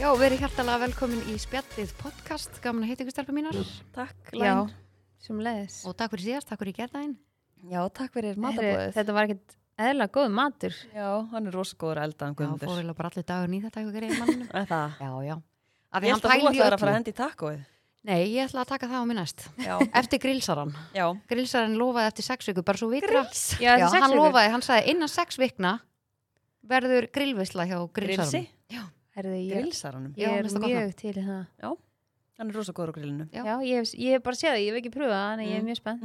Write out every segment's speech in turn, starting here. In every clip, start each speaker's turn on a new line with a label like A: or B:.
A: Já, verið hjertalega velkomin í Spjallið podcast, gaman að heita ykkur stelpa mínar
B: Takk,
C: Já,
B: Læn.
C: sem leiðis.
A: og takk fyrir síðast, takk fyrir gerðaðinn
B: Já, takk fyrir
C: Þetta,
B: matabóðið.
C: þetta var ekkert eðla góð matur.
B: Já, hann er rosagóður eldan,
A: Já,
B: Guðmundur.
A: fóriðlega bara allir dagur nýð þetta eitthvað greið mannum
B: Er það?
A: Já, já
B: Ég held að þú ætlaði að fara að hendi í takkóið.
A: Nei, ég ætla að taka það á minn næst
B: Já,
A: Eftir grilsaran
B: já.
A: Grilsaran lofaði eftir sex viku, bara svo vitra Grils?
C: Já,
A: Já, hann
C: þetta er sex vikur.
A: lofaði, hann sagði innan sex vikna verður grillvisla hjá
B: Grilsi,
A: grilsaran
C: Herðu, ég,
B: grilsaranum.
A: Já,
C: ég er
A: minnst það gott
C: mjög til í það.
B: Hann er rosagóður á grillinu.
A: Já.
C: Já, ég, hef- ég hef bara séð það, ég hef ekki pröfað það, þannig að ég er
B: Mm.
C: mjög spennt.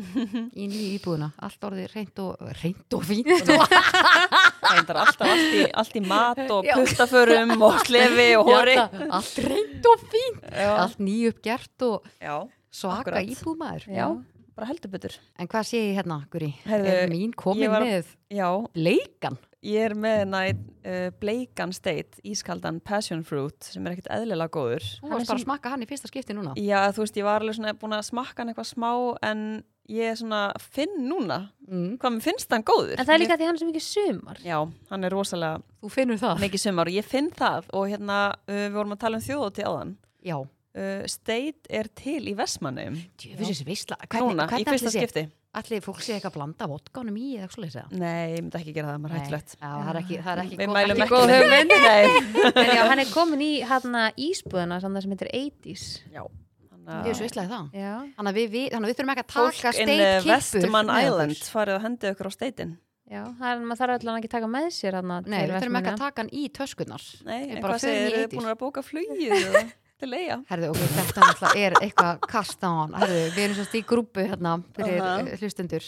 A: í nýju íbúðuna Allt orðið reynd og, reynd og fínt
B: Það endar alltaf allt í, allt í mat og puttaförum og slefi og hóri.
A: Já, þetta- Allt reynd og fínt
B: Já,
A: Allt nýjuppgert og
B: já,
A: svaka
B: Akkurat.
A: íbúðmaður
B: já. Bara heldur betur.
A: En hvað sé ég hérna, Guri?
B: Heyrðu,
A: er mín komin
B: ég var-
A: með
B: Já,
A: leikan?
B: ég er með nætt uh, Bleikan State, ískaldan Passion Fruit sem er ekkert eðlilega góður.
A: Þú
C: Hann er
A: varst bara að
C: sem-
A: smakka hann í fyrsta skipti núna.
B: Já, þú veist, ég var alveg svona búin að smakka hann eitthvað smá en ég er svona finn núna
A: Mm.
B: hvað mér finnst hann góður.
C: En það er líka því að hann er svo mikið sumar.
B: Já, hann er rosalega
A: Þú finnur það?
B: mikið sumar og ég finn það og hérna uh, við vorum að tala um þjóðóti áðan.
A: Já.
B: Uh, State er til í Vestmannum
A: Djöfis þessi veistla.
B: núna í fyrsta skipti.
A: Allir fólk sé eitthvað að blanda vodkanum í eða eitthvað leysa.
B: Nei, ég myndi ekki gera það, maður er hættulegt.
A: Já, það er ekki, það er ekki
B: Við
A: gott-
B: mælum
A: ekki
B: ekki
A: góð hugmynd.
B: hugmynd. Nei.
C: En já, hann er komin í hana ísbúðuna, svona það sem heitir 80s.
B: Já,
A: Djöfis
B: þannig að...
A: veistlaði það.
C: Já,
A: Þannig að við, við, þannig að við þurfum ekki að
B: Fólk
A: taka
B: in
A: steikt
B: uh,
A: kippur.
B: Vestman
A: með okkur.
B: Island farið að hendi okkur á steitin.
C: já, það er, maður þarf allan ekki að taka með sér hana
A: Nei, við þurfum ekki að taka hann í töskunnar.
B: Nei, en
A: bara
B: hvað
A: förum í
B: segir, eru
A: 80s?
B: búin að bóka flugið eða til eiga?
A: Herðu, ok, þetta náttúrulega er eitthvað kasta á hann. Herðu, við erum svolítið í grúpu hérna fyrir
B: Aha.
A: uh hlustendur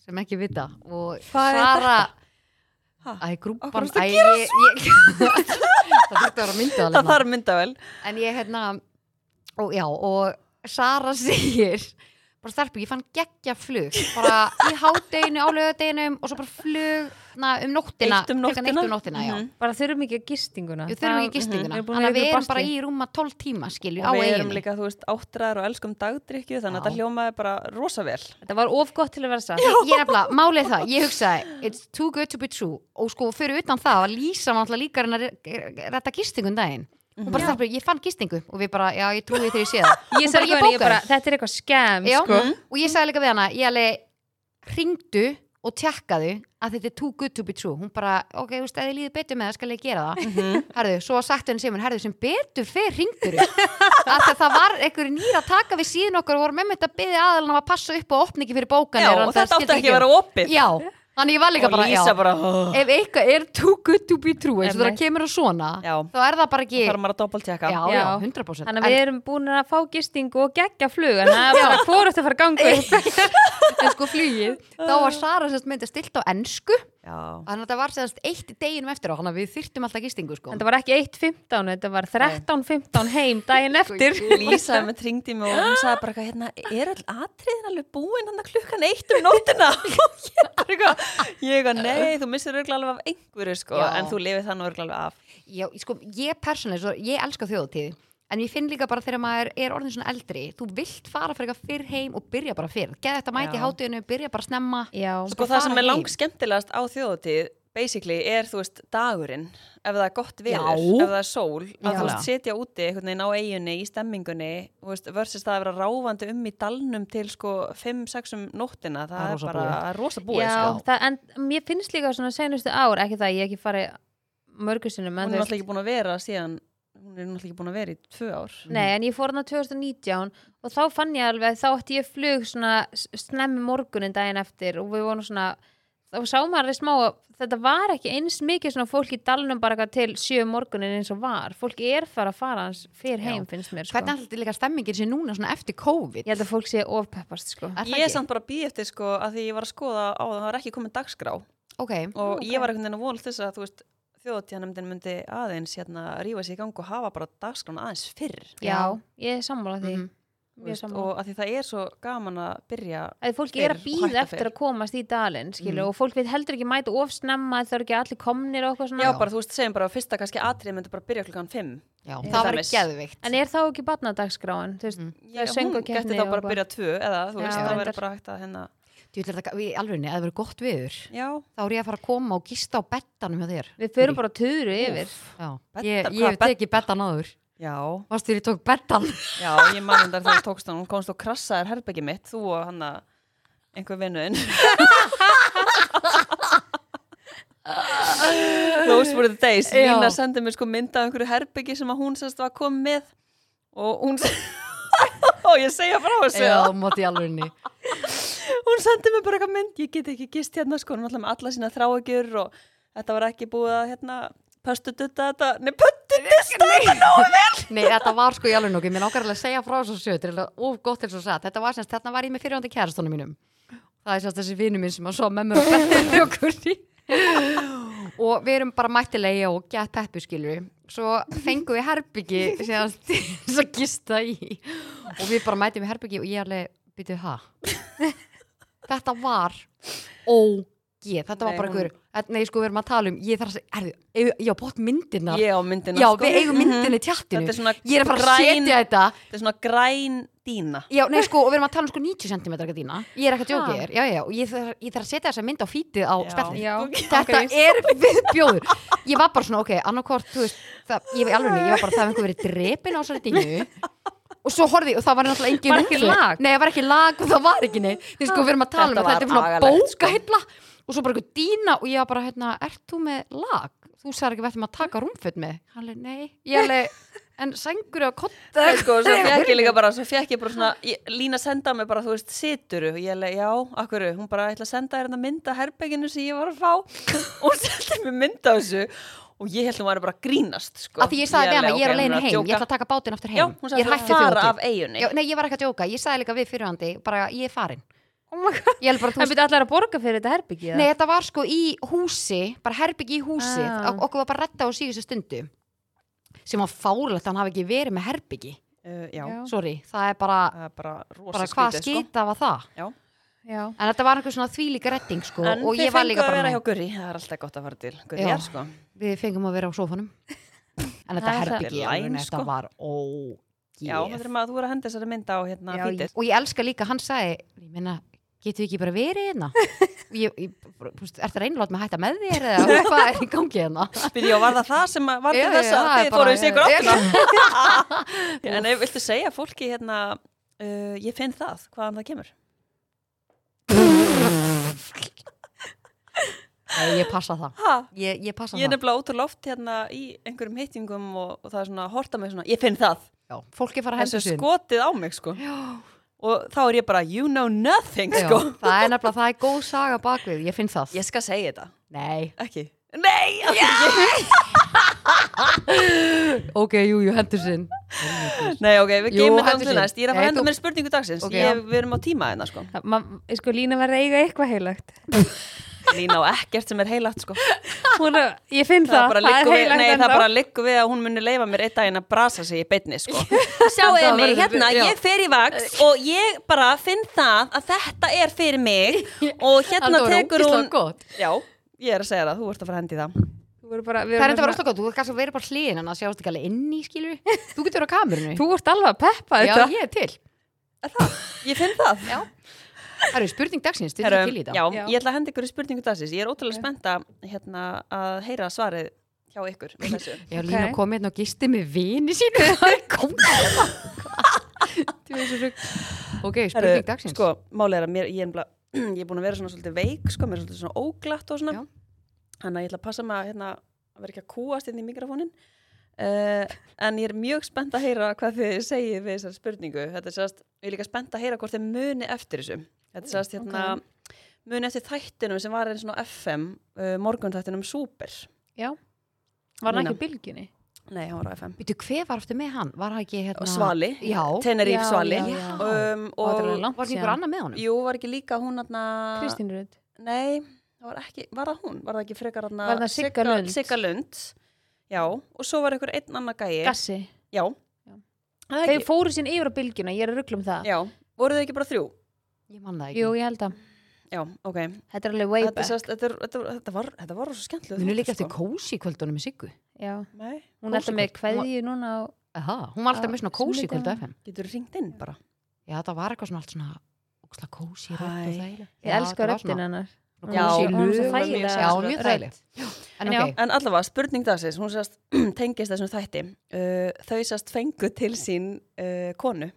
A: sem ekki vita. Og
B: Hvað er
A: Sara,
B: Ha?
A: æ,
B: Af hverju
A: grúpan,
B: ertu að
A: ég, ég, um það þurfti að vera myndað
B: Það
A: alveg.
B: þarf myndavel.
A: En ég, hérna, og já, og Sara segir, bara starpi, ég fann geggja flug, bara í hádeginu, á lögadeginum og svo bara flug, na, um nóttina.
B: Eitt um
A: klukkan
B: nóttina.
A: Eitt um nóttina, já.
B: Mhm.
C: Bara þurfum ekki að gistinguna.
A: Við þurfum ekki
C: Það-
A: gistinguna.
C: Við erum búin
A: Þannig
C: að
A: að við
C: vera í
A: erum
C: basli.
A: bara í rúma 12 tíma, skilju, á
B: og við erum
A: eiginu.
B: líka, þú veist, áttræðar og elskum dagdrykju
A: Já.
B: þannig að þetta hljómaði bara rosa vel
C: Þetta var of gott til að vera satt.
A: ég nefnilega, málið er það, ég hugsaði it's too good to be true og sko fyrir utan það að Lísa var alltaf líka að rætta gistingun um daginn og
B: Mhm.
A: bara þarf ég fann gistingu og við bara, já ég trúi þegar ég sé það
C: Ég
A: Hún
C: sagði bara, ég
A: bókaði.
C: bara, þetta er eitthvað skemm,
A: já, Mhm.
C: sko.
A: og ég sagði líka við hana, ég alveg ringdu og tjekkaðu að þetta er too good to be true hún bara, ok, þú veist, ef þið líður betur með það skal ég gera það
B: Mhm.
A: herðu, svo sagt henni sem herðu, sem betur fer ringdur að það var einhver nýr að taka við síðan okkur og voru með þetta byggði aðalinn um að passa upp og opna ekki fyrir bókan
B: Já, og þetta átti ekki að vera opið
A: Já, þannig ég var líka
B: og
A: bara, já,
B: lýsa bara, oh,
A: ef eitthvað er too good to be true eins og það
C: Einmitt.
A: kemur á svona,
B: Já.
A: þá er það bara ekki
B: þarf maður að doppeltjekka
A: já, já,
C: Já.
A: 100%
C: Þannig að við erum búin að fá gistingu og gegja flug, en það er bara hvort að fara að ganga upp.
A: en, en sko flugið, þá var Sara sérst myndið stilt á ennsku,
B: Já.
A: þannig að það var sérst eitt deginum eftir á, þannig að við þyrtum alltaf gistingu sko.
C: En það var ekki 1.15, þetta var 13.15 heim daginn eftir.
B: Lísa með tringdi mig og hún sagði bara eitthvað, hérna, er all atriðin alveg búin hann að klukkan eitt um nóttina og ég bara eitthvað, ég eitthvað, nei, þú missir örgla alveg af einhverju sko,
A: Já.
B: en þú lifið þannig örgla alveg af
A: Já, sko, ég persónlega, svo, ég elska þjóðatíð en ég finn líka bara þegar maður er orðin svona eldri þú vilt fara fyrir eitthvað fyrr heim og byrja bara fyrr, geða þetta mæti í
B: Já.
A: hátíðinu byrja bara snemma
C: Já,
B: Sko
A: bara
B: það
A: fara
B: sem er
A: heim.
B: lang skemmtilegast á þjóðatíð basically er, þú veist, dagurinn ef það er gott veður,
A: Já.
B: ef það er sól að
A: Já.
B: þú veist, setja úti einhvern veginn á eiginni í stemmingunni, þú veist, versus það að vera ráfandi um í dalnum til sko 5-6 um nóttina,
A: Það er
B: það, er,
A: rosa
B: bara rosa búið,
C: já
B: sko.
C: það, en mér finnst líka svona senustu ár, ekki það, ég hef ekki farið
B: Hún
C: mörgusunum, en
B: er
C: þú veist,
B: náttúrulega ekki búin að vera síðan hún er náttúrulega ekki búin að vera í tvö ár
C: nei, en ég fór hana 2019 og þá fann ég alveg, að þá ætti ég flug svona s- snemmi morgunin daginn eftir og við vorum svona, þá sá maður alveg smá að þetta var ekki eins mikið svona fólk í dalnum bara eitthvað til sjö morgunin eins og var, fólk er fara að fara hans fyrir heim, finnst mér, sko.
A: hvernig alltaf líka stemmingin sé núna svona eftir COVID
C: Ég held að fólk sé ofpeppast, sko.
A: Er það
B: Ég er
A: ekki?
B: samt bara að býja eftir sko að því ég var að skoða á það, það var ekki komin dagskrá og
A: Ok,
B: ég var einhvern veginn að vonast þess að þú veist þjóðtíðanemndin myndi aðeins hérna rífa sér í gang og hafa bara dagskrána aðeins fyrr
C: Já, ég er sammála því.
A: Mhm.
B: Þú
C: Mjög
B: veist,
C: sammála.
B: og að því það er svo gaman að byrja
C: að fólk
B: fyrr
C: er að
B: og
C: býða
B: hætta
C: eftir
B: fyrr. Mhm.
C: að komast í dalinn skilu, og fólk veit heldur ekki mæta of snemma það eru ekki allir komnir og eitthvað svona
B: já, bara þú veist, segjum bara að fyrsta kannski atrið myndi bara byrja klukkan 5
A: Já,
B: Til
A: það var
B: dæmis.
A: geðvikt
C: en er þá ekki barnadagskráin þú
B: Mhm.
C: veist, það
B: hún
C: er
B: geti þá
C: söngukeppni og
B: bara
C: eitthvað.
B: að byrja 2 eða þú
C: Já,
B: veist, það
C: reyndar.
B: verður bara hægt að hérna
A: Þú ætlar þetta, við alveg, eða það verið gott viður
B: já,
A: þá er ég að fara að koma og gista á bettanum hjá þér
C: við förum bara töðru yfir
A: Já,
B: Bedda-
A: ég, ég
B: hvað
A: hef
B: bed-
A: tekið bettan áður
B: Já,
A: Varstu þér ég tók bettan?
B: já, ég man þetta þegar þú tókst hann, hún komst og krassaðir herbyggi mitt, þú og hann að einhver vinnuðin. Those were the days.
A: Já.
B: Lína sendi mér sko mynda af einhverju herbyggi sem að hún semst var komið með og hún og ég segja frá þessu
A: Já, móti alvegni.
B: hún sendi mér bara eitthvað mynd ég get ekki gist hérna sko, hún var alltaf með alla sína þráegjur og þetta var ekki búið að hérna pöstudutta þetta, nei pöstudutta þetta nógu vel
A: Nei, þetta var sko í alveg nokkuð. Mér langar alveg að segja frá þessu sötur, of gott eins og satt. Þetta var semst, þarna var ég með fyrirhandi kærastónum mínum. Það er semst þessi vinnu minn sem að svo með mér og bettan okkur í. Og við erum bara mættilegi og gett peppu skilur. Svo fengum við herbyggi síðan til þess að gista í. Og við bara mætum við herbyggi og ég alveg, byrju, ha? Þetta var ógeð. Þetta var
B: Nei,
A: bara
B: hún-
A: einhver, nei sko við erum að tala um, ég þarf að segja, herðu, eigum- ég á bótt myndirnar
B: ég á myndina
A: Já,
B: sko
A: við eigum myndinni í tjattinu
B: þetta er svona
A: Ég er að fara að
B: græn
A: setja þetta
B: þetta er svona græn dína
A: Já, nei, sko, og við erum að tala um sko 90 cm dýna Ég er ekki að djóka
C: Ha.
A: þér Já, já, og ég þarf, ég þarf að setja þessa mynd á fítið á
B: Já.
A: spjallinu
C: Já,
A: Þetta er viðbjóður Ég var bara svona, ok, annarkort, þú veist það, Ég var alveg, ég var bara það hef einhver verið drepin á þessari dýnu Og svo horfði, ég- og það var náttúrulega engin
C: Var ekki
A: umfjöll.
C: lag?
A: Nei, það var ekki lag og það var ekki neitt Nei, sko, við erum að tala um
B: Þetta
A: að þetta
B: var
A: er svona
B: agalegt, sko.
A: bókahilla Og svo bara einhver dýna og ég var bara, hérna, ert þú með lag? Þú sagði ekki verðum að taka rúmföt með Hann leið, nei, ég leið En sængur og kott
B: það er sko, svo fekk ég líka bara svo fekk ég bara svona, ég, Lína senda mig bara þú veist, situru, og ég leið, já, akkur hún bara ætla að senda þér hérna þetta mynda herbygginu sem ég var að fá, og hún sendi mér mynda þessu, og ég held hún var bara að grínast, sko.
A: Af því ég sagði við hana,
B: leið,
A: ég er
B: ok,
A: á leiðinu
B: hún
A: heim,
B: að
A: ég ætla
B: djóka.
A: að taka bátinn aftur heim.
B: Já, hún
A: ég
B: sagði
A: er
B: að
A: hætt að
B: fara
A: djóki.
B: af eigunni
A: Já, nei, ég var ekki að djóka, ég sagði líka við fyrirhandi, bara ég er farin. Oh my god. Ég held bara, þú
C: En
A: veist,
C: byrja allar að borga fyrir þetta herbyggi
A: nei, þetta var sko í húsi, bara herbyggi í húsi,
C: Ah.
A: ah. okkur var bara retta á síðustu stundu, sem var fárlegt að hann hafi ekki verið með herbyggi.
B: Uh, já,
C: Já.
A: Sorry, það er bara,
B: það er bara rosa
A: bara hvað
B: skrítið, sko.
A: skýta var það?
C: Já,
A: En þetta var einhver svona þvílíka retting, sko,
B: En
A: og
B: þið
A: ég var
B: fenguð
A: líka
B: að
A: bara,
B: vera hjá
A: með,
B: Gurri, það er alltaf gott að fara til Gurri,
A: Já.
B: er, sko.
A: við fengum að vera á sófanum. En þetta
C: Það er
A: herbyggi,
B: það.
A: alveg,
B: Line,
A: þetta
B: sko.
A: var ógið.
B: Já, þetta er maður að þú er að henda þessari mynda á hérna
C: Já,
B: fítið.
A: og ég elska líka, hann sagði ég meina, getur við ekki bara verið hérna Og ég, ég, bara, þú veist, er það reynilegt með hætta með þér eða hvað er í gangi hérna
B: Byrja, var það það sem að- var
A: Já,
B: til
A: já,
B: þess að
A: það er
B: þið
A: bara-
B: fóruð í sigur
A: Já.
B: áttina? En ef viltu segja fólki hérna, uh, ég finn það, hvaðan það kemur?
A: Nei, ég passa það
B: Ha?
A: ég, ég passa
B: Ég er
A: það,
B: nefnilega út á loft hérna í einhverjum hittingum og, og það er svona að horta mig svona, ég finn það.
A: já, fólki fara að
B: Þessu
A: hendur sín
B: skotið á mig, sko. Já. Og þá er ég bara, you know nothing,
A: Já,
B: sko.
A: það er nefnilega, það er góð saga bakvið ég finn það,
B: Ég skal segja þetta.
A: nei
B: Ekki. Nei! Yeah!
A: ok, jú, jú, hendur sín
B: Nei, ok, við
A: Jú,
B: geymum þetta
A: hendur
B: til
A: sér.
B: næst. Ég er að
A: Nei,
B: fara að henda
A: þú-
B: mér spurningu dagsins.
A: Ok.
B: ég, við erum á tíma hérna, sko.
C: Það- ma- sko Lína var að eiga eitthvað heilagt
B: Lína á ekkert sem er heilagt, sko. Það,
C: Hún er, ég finn það,
B: bara
C: það er
B: liggur við,
C: heilagt
B: nei,
C: ennþá.
B: það bara liggur við að hún muni leifa mér einn daginn að brasa sig í beinni, sko.
A: Það
B: Sjáuðu mig,
A: verður-
B: hérna,
A: já.
B: ég fer í vaks og ég bara finn það að þetta er fyrir mig og hérna
A: Halldóra,
B: tekur
A: ógeðslega
B: hún...
A: gott.
B: Já, ég er að segja það, þú ert að fara hendi það.
C: Þú voru bara- við
A: það er
C: vorum
A: enda bara
C: svona-
A: óslega gott, þú er kannski að vera bara hliðin en það sjást ekki alveg inn í skilur þú getur verið á kamerunni
C: Þú ert alveg að peppa
A: já,
C: þetta
A: ég er til
B: Er það? Ég finn það.
A: já. það eru spurning dagsins, þú
B: Herru,
A: til í
B: já,
A: það
C: Já.
B: ég ætla að henda ykkur í spurningu dagsins. Ég er ótrúlega spennta hérna, að heyra svarið hjá ykkur. með þessu.
A: Já, Lína
C: Ok.
A: kom hérna og gisti með vini sínu Það er komið Þú veist þessu rugl. Ok,
B: Herru,
A: spurning dagsins
B: Sko, málið er að mér, ég, er nefnilega- ég er búin að vera svona svolítið veik, sko, mér er svolítið svona óglatt og svona.
A: Já.
B: Þannig að ég ætla að passa mig að, hérna, að vera ekki að kúast inn í mikrofónin. Uh, en ég er mjög spennt að heyra hvað þið segið við þessar spurningu. Þetta er sérst, ég er líka spennt að heyra hvort þið muni eftir þessu. Þetta er sérst, hérna, muni eftir þættinum sem var einn svona FM, uh, morgun þættinum Super.
C: Var hann
B: Lína.
C: ekki í bylgjunni?
B: Nei, hann var á FM.
A: Býtu, hver var aftur með hann? Var hann ekki hérna
B: Og Svali,
A: Já,
B: Teneríf
C: Já,
B: Svali.
C: já,
A: já.
B: Um,
A: og
B: og,
A: þetta er langt Var ekki ykkur
C: síðan.
A: annað með honum?
B: jú, var ekki líka hún hérna...
C: Kristín Rödd
B: Nei, það var ekki, var það hún? Var það ekki frekar hann
C: Var það Sigga Lund?
B: Ah, Sigga Lund, já, og svo var einhver einn annar gæi.
C: Gassi
B: Já.
C: Já.
B: Það er
C: Þeir
B: ekki,
C: fóru sín yfir á bylgjuna, ég er að ruggla um það
B: já, voru þau ekki bara þrjú?
A: Ég man það ekki
C: Jú, ég held að
B: Já, ok.
C: Þetta er alveg way
B: Þetta,
C: back
B: sest, þetta, er, þetta, var- þetta var, þetta var svo skemmtilega.
A: Munu líka eftir kósi kvöldunum með Siggu
C: Já,
B: sko. Nei,
C: hún er alltaf með
A: Kósí-kvöld. Hún
C: kveðju núna á
A: Aha, hún var alltaf
C: Já,
A: með svona kósi
C: sunnudaginn.
A: kvöldu FM
B: getur ringt inn bara.
A: Já, það var eitthvað svona allt svona óksla kósi rödd
B: Hæ.
A: og þægileg
C: Ég
A: Já,
C: elska
A: þetta var
C: röddin
A: svona-
C: hennar
A: Hún
B: Já,
A: sé
B: hún
C: var svo
A: lög.
C: þægileg.
A: Já, hún er mjög þægileg. En
C: En já.
A: ok,
B: En allavega, spurning dagsins, hún sérst tengist þessum þætti. Uh, þau sérst fengu til sín uh, konu.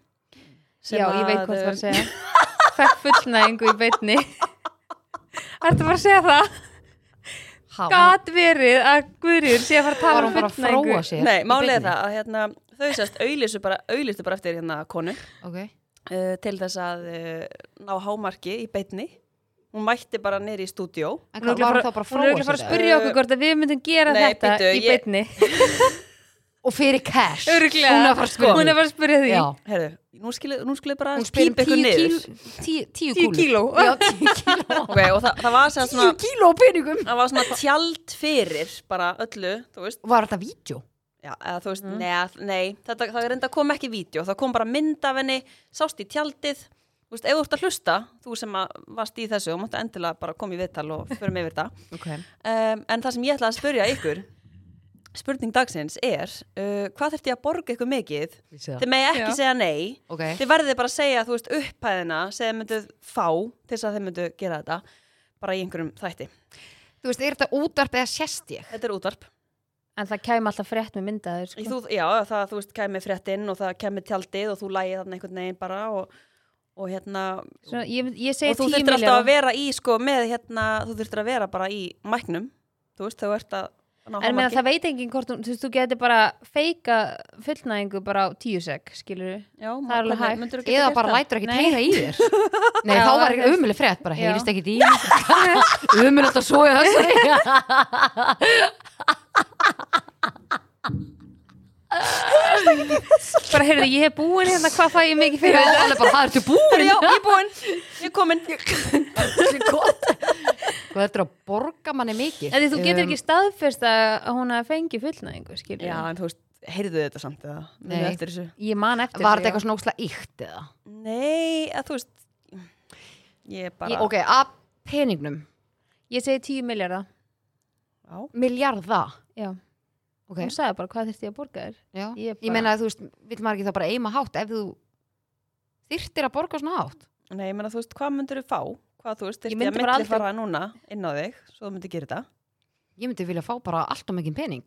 B: sem
C: Já, ég veit hvað það
B: uh,
C: var að segja Fekk fullnæðingu í beinni Ertu bara að segja það?
A: Há,
C: Gat verið að Guðrýður sé að fara að
A: var
C: tala
A: hún
C: um
A: bara að
C: fullnæðingu
A: fróa sér
B: Nei,
A: í
B: málið er
A: beinni?
B: það að hérna, þau sérst auðlistu bara, auðlistu bara eftir hérna konu
A: Ok.
B: uh, til þess að uh, ná hámarki í beinni. Hún mætti bara nýri í stúdió.
A: En
C: Hún er
A: hvað var
C: örugglega
A: hún þá bara að
C: Hún
A: fróa
C: er auðvitað að fara að
A: sér?
C: spyrja okkur hvort að við myndum gera
B: Nei,
C: þetta
B: bíddu,
C: í
B: ég-
C: beinni
A: Og fyrir cash.
C: Öruglega
A: Hún er að fara að spyrja
C: Hún er að fara að spyrja því
A: Já.
B: Herðu, nú skilum nú skilum bara
A: Hún spyr um
B: pípa ykkur
A: tíu kíl,
B: niður.
A: tíu, tíu,
C: Tíu
A: kúlur.
C: kíló.
A: Já, tíu kíló.
B: Ok, og það, það var sérst svona,
A: kíló peningum.
B: það var svona tjald fyrir bara öllu, þú veist.
A: Var þetta vídeo?
B: Já, eða
A: Mm.
B: þú veist, nei, nei þetta, það reynda kom ekki vídeo, það kom bara mynd af henni, sást í tjaldið, þú veist, ef þú ert að hlusta, þú sem að varst í þessu, þú mátt endilega bara koma í viðtal og förum yfir þetta.
A: Ok.
B: Um, en það sem ég ætla að spyrja ykkur, spurning dagsins er, uh, hvað þurfti ég að borga ykkur mikið? Þið megi ekki
C: Já.
B: segja nei,
A: Ok.
B: þið verðið bara að segja, þú veist, upphæðina sem þið mynduð fá til þess að þið mynduð gera þetta, bara í einhverjum þætti.
A: Þú veist, er þetta útvarp eða sérst ég?
B: Þetta er útvarp.
C: En það kæm alltaf frétt með myndaður
B: Í
C: sko.
B: Þú, já, það, þú veist, kæmi fréttin og það kæmi tjaldið og þú lægið þarna einhvern veginn bara og, og hérna
C: Svo Ég,
B: og
C: ég segi
B: þú
C: tíu
B: þurftir alltaf að
C: miljón
B: vera í sko með hérna, þú þurftir að vera bara í mæknum, þú veist, þú ert að ná
C: En meðan
B: hámarki.
C: það veit enginn hvort hún, þú veist, þú getur bara feika fullnæðingu bara á tíu sek, skilur
B: já,
C: það er alveg hægt.
A: Eða bara lætur ekki
C: Nei.
A: heyra í þér? Nei,
C: Já,
A: þá
C: það
A: var
C: er
A: ekki
C: þess.
A: umulig frétt, bara
C: Já.
A: heyrist ekki í Umulig að svoja þessu.
C: Bara, heyrðu, ég hef búin hérna, hvað fæ ég mikið fyrir
A: Já,
C: þetta?
A: hann er bara, það ertu búin.
B: Já, ég er búinn, ég er komin
A: Gott. Hvað þetta er að borga manni mikið?
C: En því þú getur
A: Um,
C: ekki staðfest að hún að fengi fullnæðingu, skilur
B: Já, en þú veist, heyrðu þetta samt eða
A: Nei.
B: munið eftir þessu?
C: Ég man eftir
A: Var þetta eitthvað svona ósla ykt eða?
B: Nei, að þú veist ég er bara
A: Ég, ok, að peningnum,
C: Ég segi 10 miljardar.
B: já,
A: miljarða.
C: Já.
A: Ok,
C: Hún sagði bara hvað þurfti ég að borga þér.
A: já.
C: Ég
A: Ég
C: bara-
A: meina að þú veist, vill maður ekki þá bara eima hátt ef þú þyrtir að borga svona hátt?
B: Nei, ég meina, þú veist, hvað myndir þú fá? Hvað, þú veist,
C: Ég
B: þyrfti
C: myndi
B: að
C: bara
B: myndi
C: aldrei-
B: fara núna inn á þig, svo þú myndir gera þetta
A: Ég myndi vilja fá bara allt og mikið pening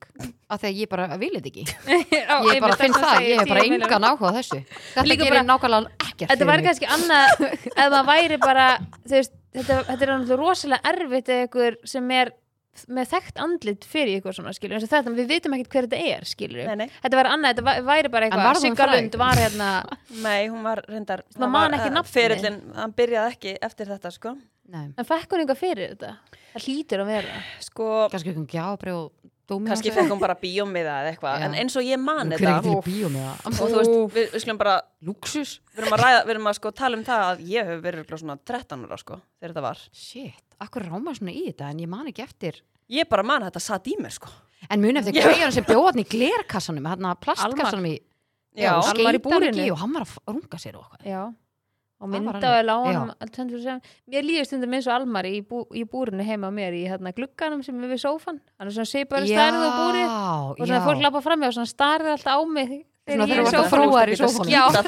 A: af því að ég bara vil þetta ekki.
C: Já,
A: Ég bara
C: einmitt,
A: finn
C: þess vegna
A: það,
C: segi
A: ég er bara
C: 10 milljarðar.
A: engan áhuga á þessu. Þetta
C: Líka
A: gerir
C: bara-
A: nákvæmlega ekkert
C: Þetta var
A: fyrir mig.
C: kannski annað, ef maður væri bara, þú veist, þetta, þetta er náttúrulega rosalega erfitt eða ykkur sem er með þekkt andlit fyrir ykkur svona, skilur, eins og þetta, við vitum ekkert hver þetta er, skilur.
B: Nei, nei.
C: Þetta var annað, þetta va- væri bara
A: En varð
C: eitthvað,
A: hún
C: Sigga
A: fræg?
C: Lund var hérna,
B: Nei, hún var reyndar
C: Maður
B: það
C: man
B: var,
C: ekki
B: eh,
C: nafnið.
B: Ferillinn, hann byrjaði ekki eftir þetta sko
A: Nei,
C: en fekk hún eitthvað fyrir þetta? Það hlýtur að vera.
B: Sko,
A: kannski ekki um gjábrið og dómi.
B: kannski fekk hún bara bíómiða eða eitthvað
A: Já.
B: En eins og ég man
A: Hver er ekki
B: þetta
A: til í bíó með það?
B: Og þú veist, við, við skulum bara,
A: Luxus?
B: við erum að ræða, við erum að sko tala um það að ég hef verið örugglega svona 13 ára sko Þegar þetta var
A: Shit, akkur ráma svona í þetta en ég man ekki eftir.
B: Ég bara man að þetta satt í mér sko
A: En muni eftir
B: Já.
A: kvejan sem bjóða hann í glerkassanum, hann að plastkassanum í
B: Já, sko,
A: og
C: Almar í
A: skeyta hann
C: búrinu.
A: ekki og hann var að f- runga sér og eitthvað.
C: Já. Og
A: Almar
C: mynda
A: alveg.
C: og lána, mér líður stundum eins og almari í, bú, í búrinu heima á mér í hérna glugganum sem er við sófan, hann er svona seipaður stærð og búrið. og svona fólk lappa fram hjá og svona starði alltaf á mig
A: Svona
C: þegar
A: þegar
C: ég er
A: þú ert að
C: sófanum
A: fróa þér í
B: Geta
A: sófanum.
B: skýta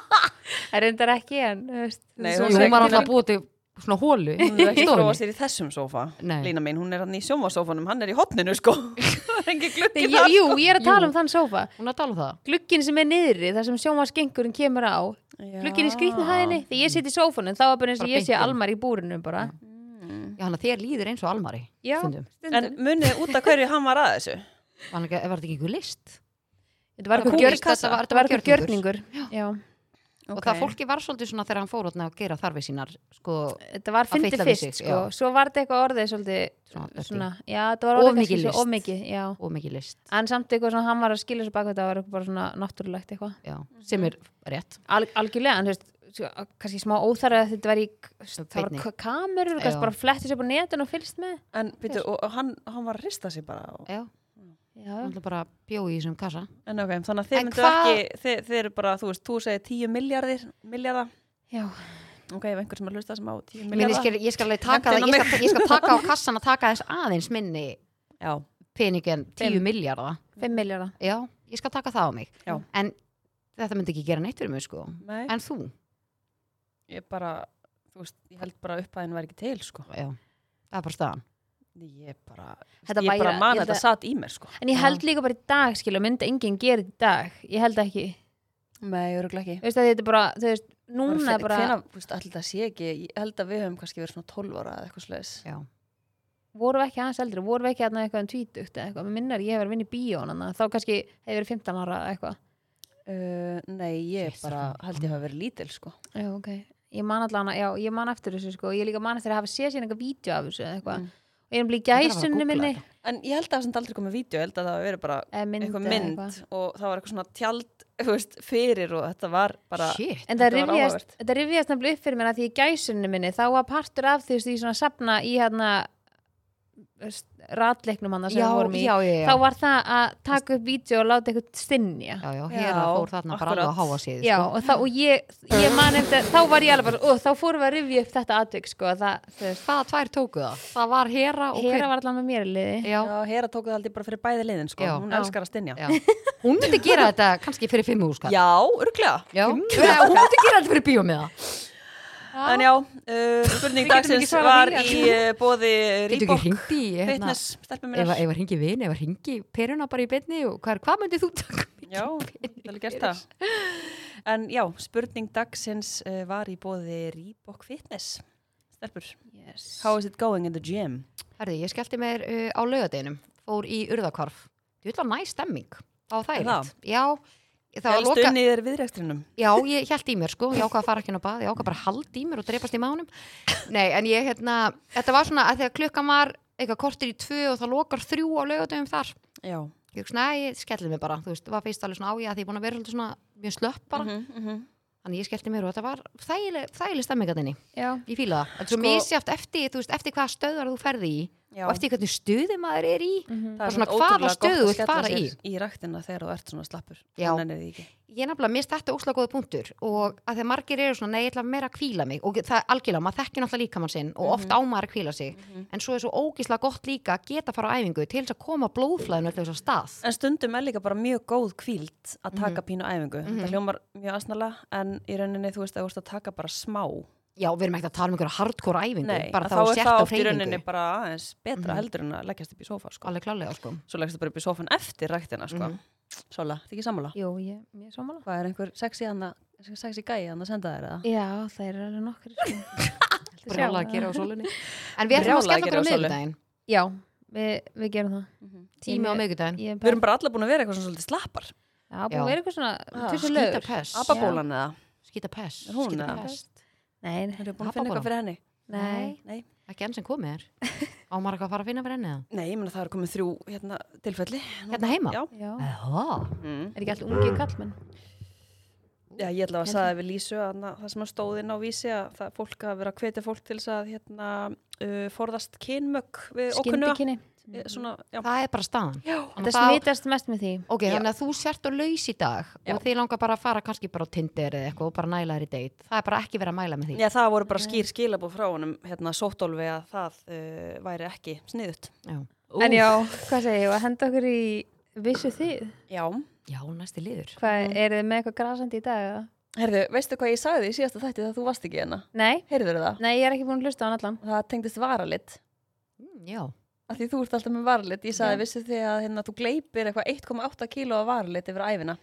B: þar.
C: það reyndar ekki en þú veist,
B: Nei,
C: þetta
A: Jú,
C: er
B: hún
C: svona-
A: hún var
B: ekki-
A: alltaf að búa til svona hólu í
B: Hún er ekki að
A: stofunni.
B: prófa sér í þessum sófa
A: Nei.
B: Lína mín, hún er hann í sjómasófanum, hann er í hotninu sko Það sko. er ekki gluggi
C: Ég-
B: þar
C: jú, ég er að tala um þann sófa
A: Hún er að tala um það.
C: glugginn sem er niðri, þar sem sjómaskengurinn kemur á glugginn í skrýtnu hæðinni þegar ég sitt í sófanum, þá er bara eins og
A: Bara
C: ég sé
A: beint inn.
C: almar í búrinu bara
A: Já, hann að þér líður eins og almari.
C: já,
A: Mm. Stundum.
B: En
C: stundum
B: munið út af hverju hann var að þessu
A: Var, ekki, var þetta ekki einhver list?
C: þetta var
A: það
C: eitthvað
A: kom í
C: gjörn-
A: kassa.
C: þetta var- þetta var eitthvað
A: Gjörningur.
C: gjörningur já,
A: Og það fólki var svolítið svona þegar hann fór þarna að gera þarfið sínar, sko,
C: þetta var fyndi
A: fitla við sig,
C: fyrst sko.
A: já.
C: svo var þetta eitthvað orðið svolítið
A: Svona dirty.
C: svona, já, þetta var
A: Of
C: orðið
A: mikil
C: kannski svo-
A: list.
C: of mikið, já
A: og mikið list.
C: en samt eitthvað svona, hann var að skilja svo bak við þetta var eitthvað bara svona náttúrulegt eitthvað
A: Já, sem er rétt.
C: Al, algjörlega, en þú veist sko, kannski smá óþarað að þetta var í það var
A: Beinni.
C: ka- kamerur, þú
A: Já.
C: kannski bara flettis upp á netin og fylgst með
B: En býtu, og, og hann, hann var að rista sig bara og,
A: Já,
C: já,
A: hann bara bjóð í þessum kassa.
B: En ok, þannig að þið
A: En
B: myndu
A: hvað-
B: ekki þið, þið eru bara, þú veist, þú segir 10 miljardir miljarda,
C: já.
B: ok, ef einhver sem að hlusta sem á 10
A: Minn, ég,
B: miljarda
A: skal, ég skal alveg taka það,
B: Hentu inn á
A: ég skal, ég skal taka á kassan að taka þess aðeins minni
B: Já,
A: pening en 10
C: Fimm.
A: miljarda.
C: 5 miljardar
A: Já, ég skal taka það á mig.
B: Já.
A: En þetta myndi ekki gera neitt fyrir mig, sko.
B: nei,
A: En þú?
B: ég bara, þú veist, ég held bara að upphæðin var ekki til, sko
A: Já. það er bara staðan
B: Ég bara,
C: Þetta
B: ég bara
C: væri-
B: man
C: ég
B: að
C: held
B: þetta satt í mér sko.
C: En ég held líka bara í dag, skilja, myndi enginn gera þetta í dag. Ég held ekki.
B: Nei, örgulega ekki.
C: Þú veist að þetta er bara, þú veist, núna er bara,
B: Fena, veist, allir það sé ekki, ég held að við höfum kannski verið svona 12 ára eða eitthvað sliðis.
A: Já.
C: vorum við ekki aðeins eldri, vorum við ekki aðeins eitthvað en tvítugt eða eitthvað. Mér minnar ég hef verið að vinna í bíónan, þá kannski hefur verið 15 ára eða eitthvað.
B: Uh, nei, ég
A: Jesus,
B: bara
A: hvað
B: held ég hafa verið lítil sko.
C: Já, ok. Ég man allan, já, ég man eftir þessu, sko. Ég líka man eftir að hafa séð sér einhver vídeo af þessu eða eitthvað.
B: Mm.
C: Og ég er blíð
A: Ég þarf að
C: gæsunni
A: googla
C: minni.
A: þetta.
B: En ég held að það sem aldrei komið vídeo, ég held að það hafa verið bara
C: eða Mynd,
B: eitthvað
C: eða
B: mynd og það var eitthvað svona tjald þú veist, fyrir og þetta var bara
A: Shit.
C: En
B: Þetta
C: það
B: var
C: rifjast,
B: áhugavert.
C: þetta rifjast nefnilega upp fyrir mér að því í gæsunni minni þá var partur af því því svona safna í hérna ratleiknum hann sem
A: já,
C: við vorum í
A: já, já, já.
C: þá var það að taka upp vídeo og láta eitthvað stinja
A: já, já,
B: Já,
A: hér fór þarna bara alveg
B: akkurat.
A: að háa sko. sig
C: Já, og, þá, og ég, ég man eftir, þá var ég alveg bara, ó, þá fórum við að rifja upp þetta atvik, sko, að það, þú veist,
A: hvaða tvær tóku það? það var Hera og
C: Hera
A: hver-
C: var allan með mér í liði.
A: já.
B: Já, Hera tók það aldrei bara fyrir bæði liðin sko,
A: Já.
B: hún
C: Já.
B: elskar að stinja
A: Já. hún myndi gera þetta kannski fyrir fimm húskall
B: Já, örglega
A: Já. Já, hún myndi gera þetta fyrir bíómiða
B: En já, uh, spurning
C: Við getum ekki
B: dagsins
C: svarað
B: var
C: því,
B: í uh, bóði
A: getur ekki
B: Reebok
A: hringt í hérna,
B: Fitness, stelpum
A: ef
B: minnar
A: að hringi vin, ef að hringi peruna bara í beinni og hvað, er- hvað myndið þú taka mikið?
B: Já, það er gert það En já, spurning dagsins uh, var í bóði Reebok Fitness Stelpur,
C: Yes.
B: how is it going in the gym?
A: Herði, ég skellti mér uh, á laugadeginum, fór í urðakvarf. Þú vil að næ stemming á það
B: Er
A: er
B: það?
A: rétt. Já, það var
B: Helst
A: loka,
B: unnið er viðrækstrinum
A: já, ég held í mér sko, ég ákvað að fara ekki inn á bað, ég ákvað bara að halda í mér og dreipast í mánum. Nei, en ég, hérna, þetta var svona að þegar klukkan var eitthvað kortir í tvö og það lokar þrjú á laugadegum þar.
B: Já,
A: Ég hugsa, næ, ég skellti mér bara, þú veist, var fyrst alveg svona á ég að því ég er búin að vera svolítið svona mjög slöpp bara.
B: Mhm, mhm.
A: Þannig ég skellti mér og þetta var þægileg, þægileg stemmingatinni.
C: Já,
A: Ég fíla það. Þetta er svo
B: Sko-
A: misjátt eftir, þú veist, eftir hvaða stöðar þú ferði í
B: já
A: og eftir hvernig stöðu maður er í.
C: mhm.
A: Bara svona hvaða stöðu þú vilt fara í.
B: í ræktina þegar þú ert svona slappur
A: Já.
B: Annað er því ekki.
A: Ég er nefnilega mist þetta óslega góða punktur og að þegar margir eru svona, nei, ég ætla meira að kvíla mig og það er algjörlega, maður þekkir náttúrulega líkamann sinn og
B: Mhm.
A: oft á maður að kvíla sig en svo er svo ógislega gott líka að geta að fara á æfingu til þess að koma blóðflæðinu alltaf þess að stað
B: en stundum er líka bara mjög góð kvíld að taka
A: Mhm.
B: pínu æfingu það hljómar mjög asnala en í rauninni þú veist að þú veist að taka bara smá
A: Já, við erum ekkert að tala um einhverja hardcore æfingu
B: Nei,
A: bara
B: að
A: þá
B: þá
A: að
B: er
A: sérta
B: það
A: á
B: oft í rauninni
A: hreyfingu Mhm.
B: bara aðeins betra heldur en að leggjast upp í sofa sko.
A: Alveg klálega, sko
B: svo leggst þú bara upp í sofan eftir ræktina sko.
A: Mhm.
B: mm -hmm. Sola, þetta ekki sammála
C: Jú, ég, ég er sammála.
B: hvað er einhver sexy, hana, sexy gæi hann að senda þér eða?
C: Já, það eru alveg nokkri, sko. Sjá.
A: Brjála að gera á sólunni En við ætlum að
B: Brjálað að
A: skella okkur á
B: gera á sólu.
A: miðgudaginn
C: Já, við, við gerum það.
A: Tími á
C: Ég-
A: miðgudaginn
C: Ég er
B: Mhm. við
C: bara,
B: erum bara alla búin að vera eitthvað svona svolítið slappar
C: já, búin
A: Já.
C: að vera eitthvað svona,
B: Ah,
C: tussu
A: Skýta
C: lögur.
A: pess
B: ababólan eða?
A: Skýta pess
B: Er hún
A: Skýta
B: eða?
A: pest
C: Nei, nei,
B: erum við búin að finna eitthvað
A: Abbabólan?
B: fyrir henni?
C: nei.
B: Nei,
A: Ekki enn sem komið er Á maður eitthvað að fara að finna fyrir henni eða?
B: Nei, ég meina það er komið þrjú hérna, tilfelli.
A: Hérna heima?
B: Já.
C: Já.
A: Eða?
B: Mm.
C: Er ekki alltaf ungi kallmenn?
B: Já, ég ætla
A: Hérna.
B: að sagði við Lísu að na- það sem að stóðin á vísi að það fólk að vera að hvetja fólk til þess að hérna, uh, forðast kynmögg við okkunna.
C: Skyndikinni.
B: Svona, já.
A: Það er bara staðan
B: já.
A: Þannig
C: Þetta
A: að þá-
C: smitast mest með því.
A: Ok,
B: Já.
A: þannig að þú sért og laus í dag
B: Já.
A: og þið langar bara að fara kannski bara á Tinder eða eitthvað og bara næla þér í date. Það er bara ekki verið að mæla með því.
B: Já, það voru bara skýr skilabóð frá honum, hérna, sóttólfi að það uh, væri ekki sniðut.
A: Já,
C: En já, hvað segir ég, að henda okkur í vissu þið?
B: Já.
A: já næsti liður.
C: Hvað, er þið með eitthvað grasandi í dag? eða?
B: Herðu, veistu hvað ég sagði í síðasta þætti þegar þú varst ekki hérna?
C: Nei,
B: Heyrður það?
C: nei, ég er ekki búin að hlusta á hann allan.
B: Það tengdist varalitt.
A: Mm, já,
B: Af því þú ert alltaf með varalitt. Ég sagði,
C: Já.
B: vissu því að hérna, þú gleipir eitthvað 1,8 kíló af varalitt yfir æfina.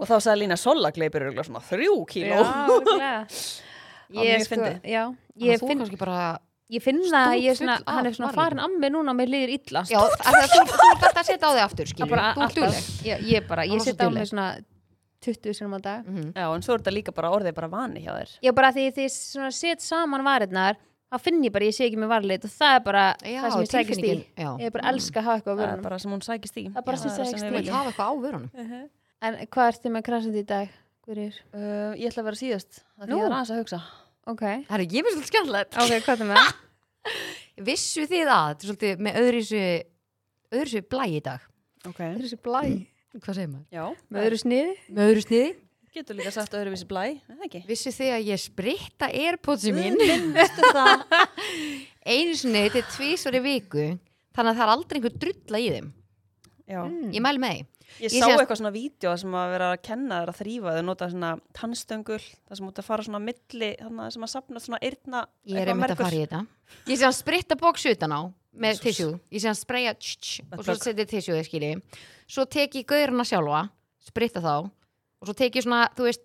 B: Og þá sagði Lína, Sola gleipir örugglega svona 3 kíló.
C: Já,
B: Já,
C: ég,
B: mjög
C: sko,
B: fyndið.
C: já,
A: þannig
C: ég,
A: að þú
C: finn,
A: kannski bara...
C: ég finn það, að ég er
A: Stútfull
C: svona,
A: af
C: hann er svona
A: varalitum.
C: farin að mig núna og mér líður illa.
A: Já, af því að þú þú ert alltaf að setja á þig aftur,
C: Það
A: skilur.
C: bara
A: Þú ert dugleg.
C: Ég, ég bara,
A: Hann
C: ég
A: var svo
C: sitt á
A: dugleg.
C: mig svona 20 sinum á dag.
A: Mhm.
B: Já, en svo er þetta líka bara orðið bara vani hjá þér.
C: Ég bara, því því svona set saman varirnar, þá finn ég bara, að ég sé ekki með varlit og það er bara
A: Já,
C: það sem ég sækist í.
A: tilfinningin, já. Mm.
C: Ég er bara elska að hafa eitthvað á
B: Það er
C: vörunum.
B: bara sem hún sækist í.
C: Það er bara
B: Já,
C: sem
B: það er
C: sækist
B: sem
A: Þú
B: við
C: í.
A: vilt
B: viljum.
A: hafa eitthvað á vörunum.
C: En hvað ertu með krasandi í dag? Guðrýr?
B: Uh, ég ætla að vera síðast. Það er
C: Nú.
B: ég er aðeins að hugsa.
C: Ok,
A: Það er ekki mjög svolítið skemmtilegt.
C: ok, hvað er með?
A: Vissu þið að, þetta er svolítið með öðruvísu, öðruvísu blæ í dag.
B: Ok.
C: Öðru sér blæ.
A: Hvað segir maður?
B: Já.
C: Með öðru sniði?
A: Með öðru sniði.
B: Getur líka sagt öðruvísi blæ. er Það ekki.
A: Vissu þið að ég spritta airpodsi mín
B: Minnstu það.
A: einu sinni til tvísveri viku þannig að það er aldrei einhver drulla í þeim.
B: Já.
A: Ég mæli með því.
B: Ég
A: Ég
B: sá
A: sé að-
B: eitthvað svona vídeo sem að vera að kenna þér að þrýfa þau nota svona tannstöngul það sem út að fara svona á milli þannig að sem að sapna svona eyrna
A: Ég er einmitt að fara í þetta. Ég sé hann spritta bóks utan á með tissjú. Ég sé hann spreja tss, tss, og svo
B: Vettlok.
A: setja tissjúði, skilji. Svo tek ég gauruna sjálfa, spritta þá og svo tek ég svona, þú veist,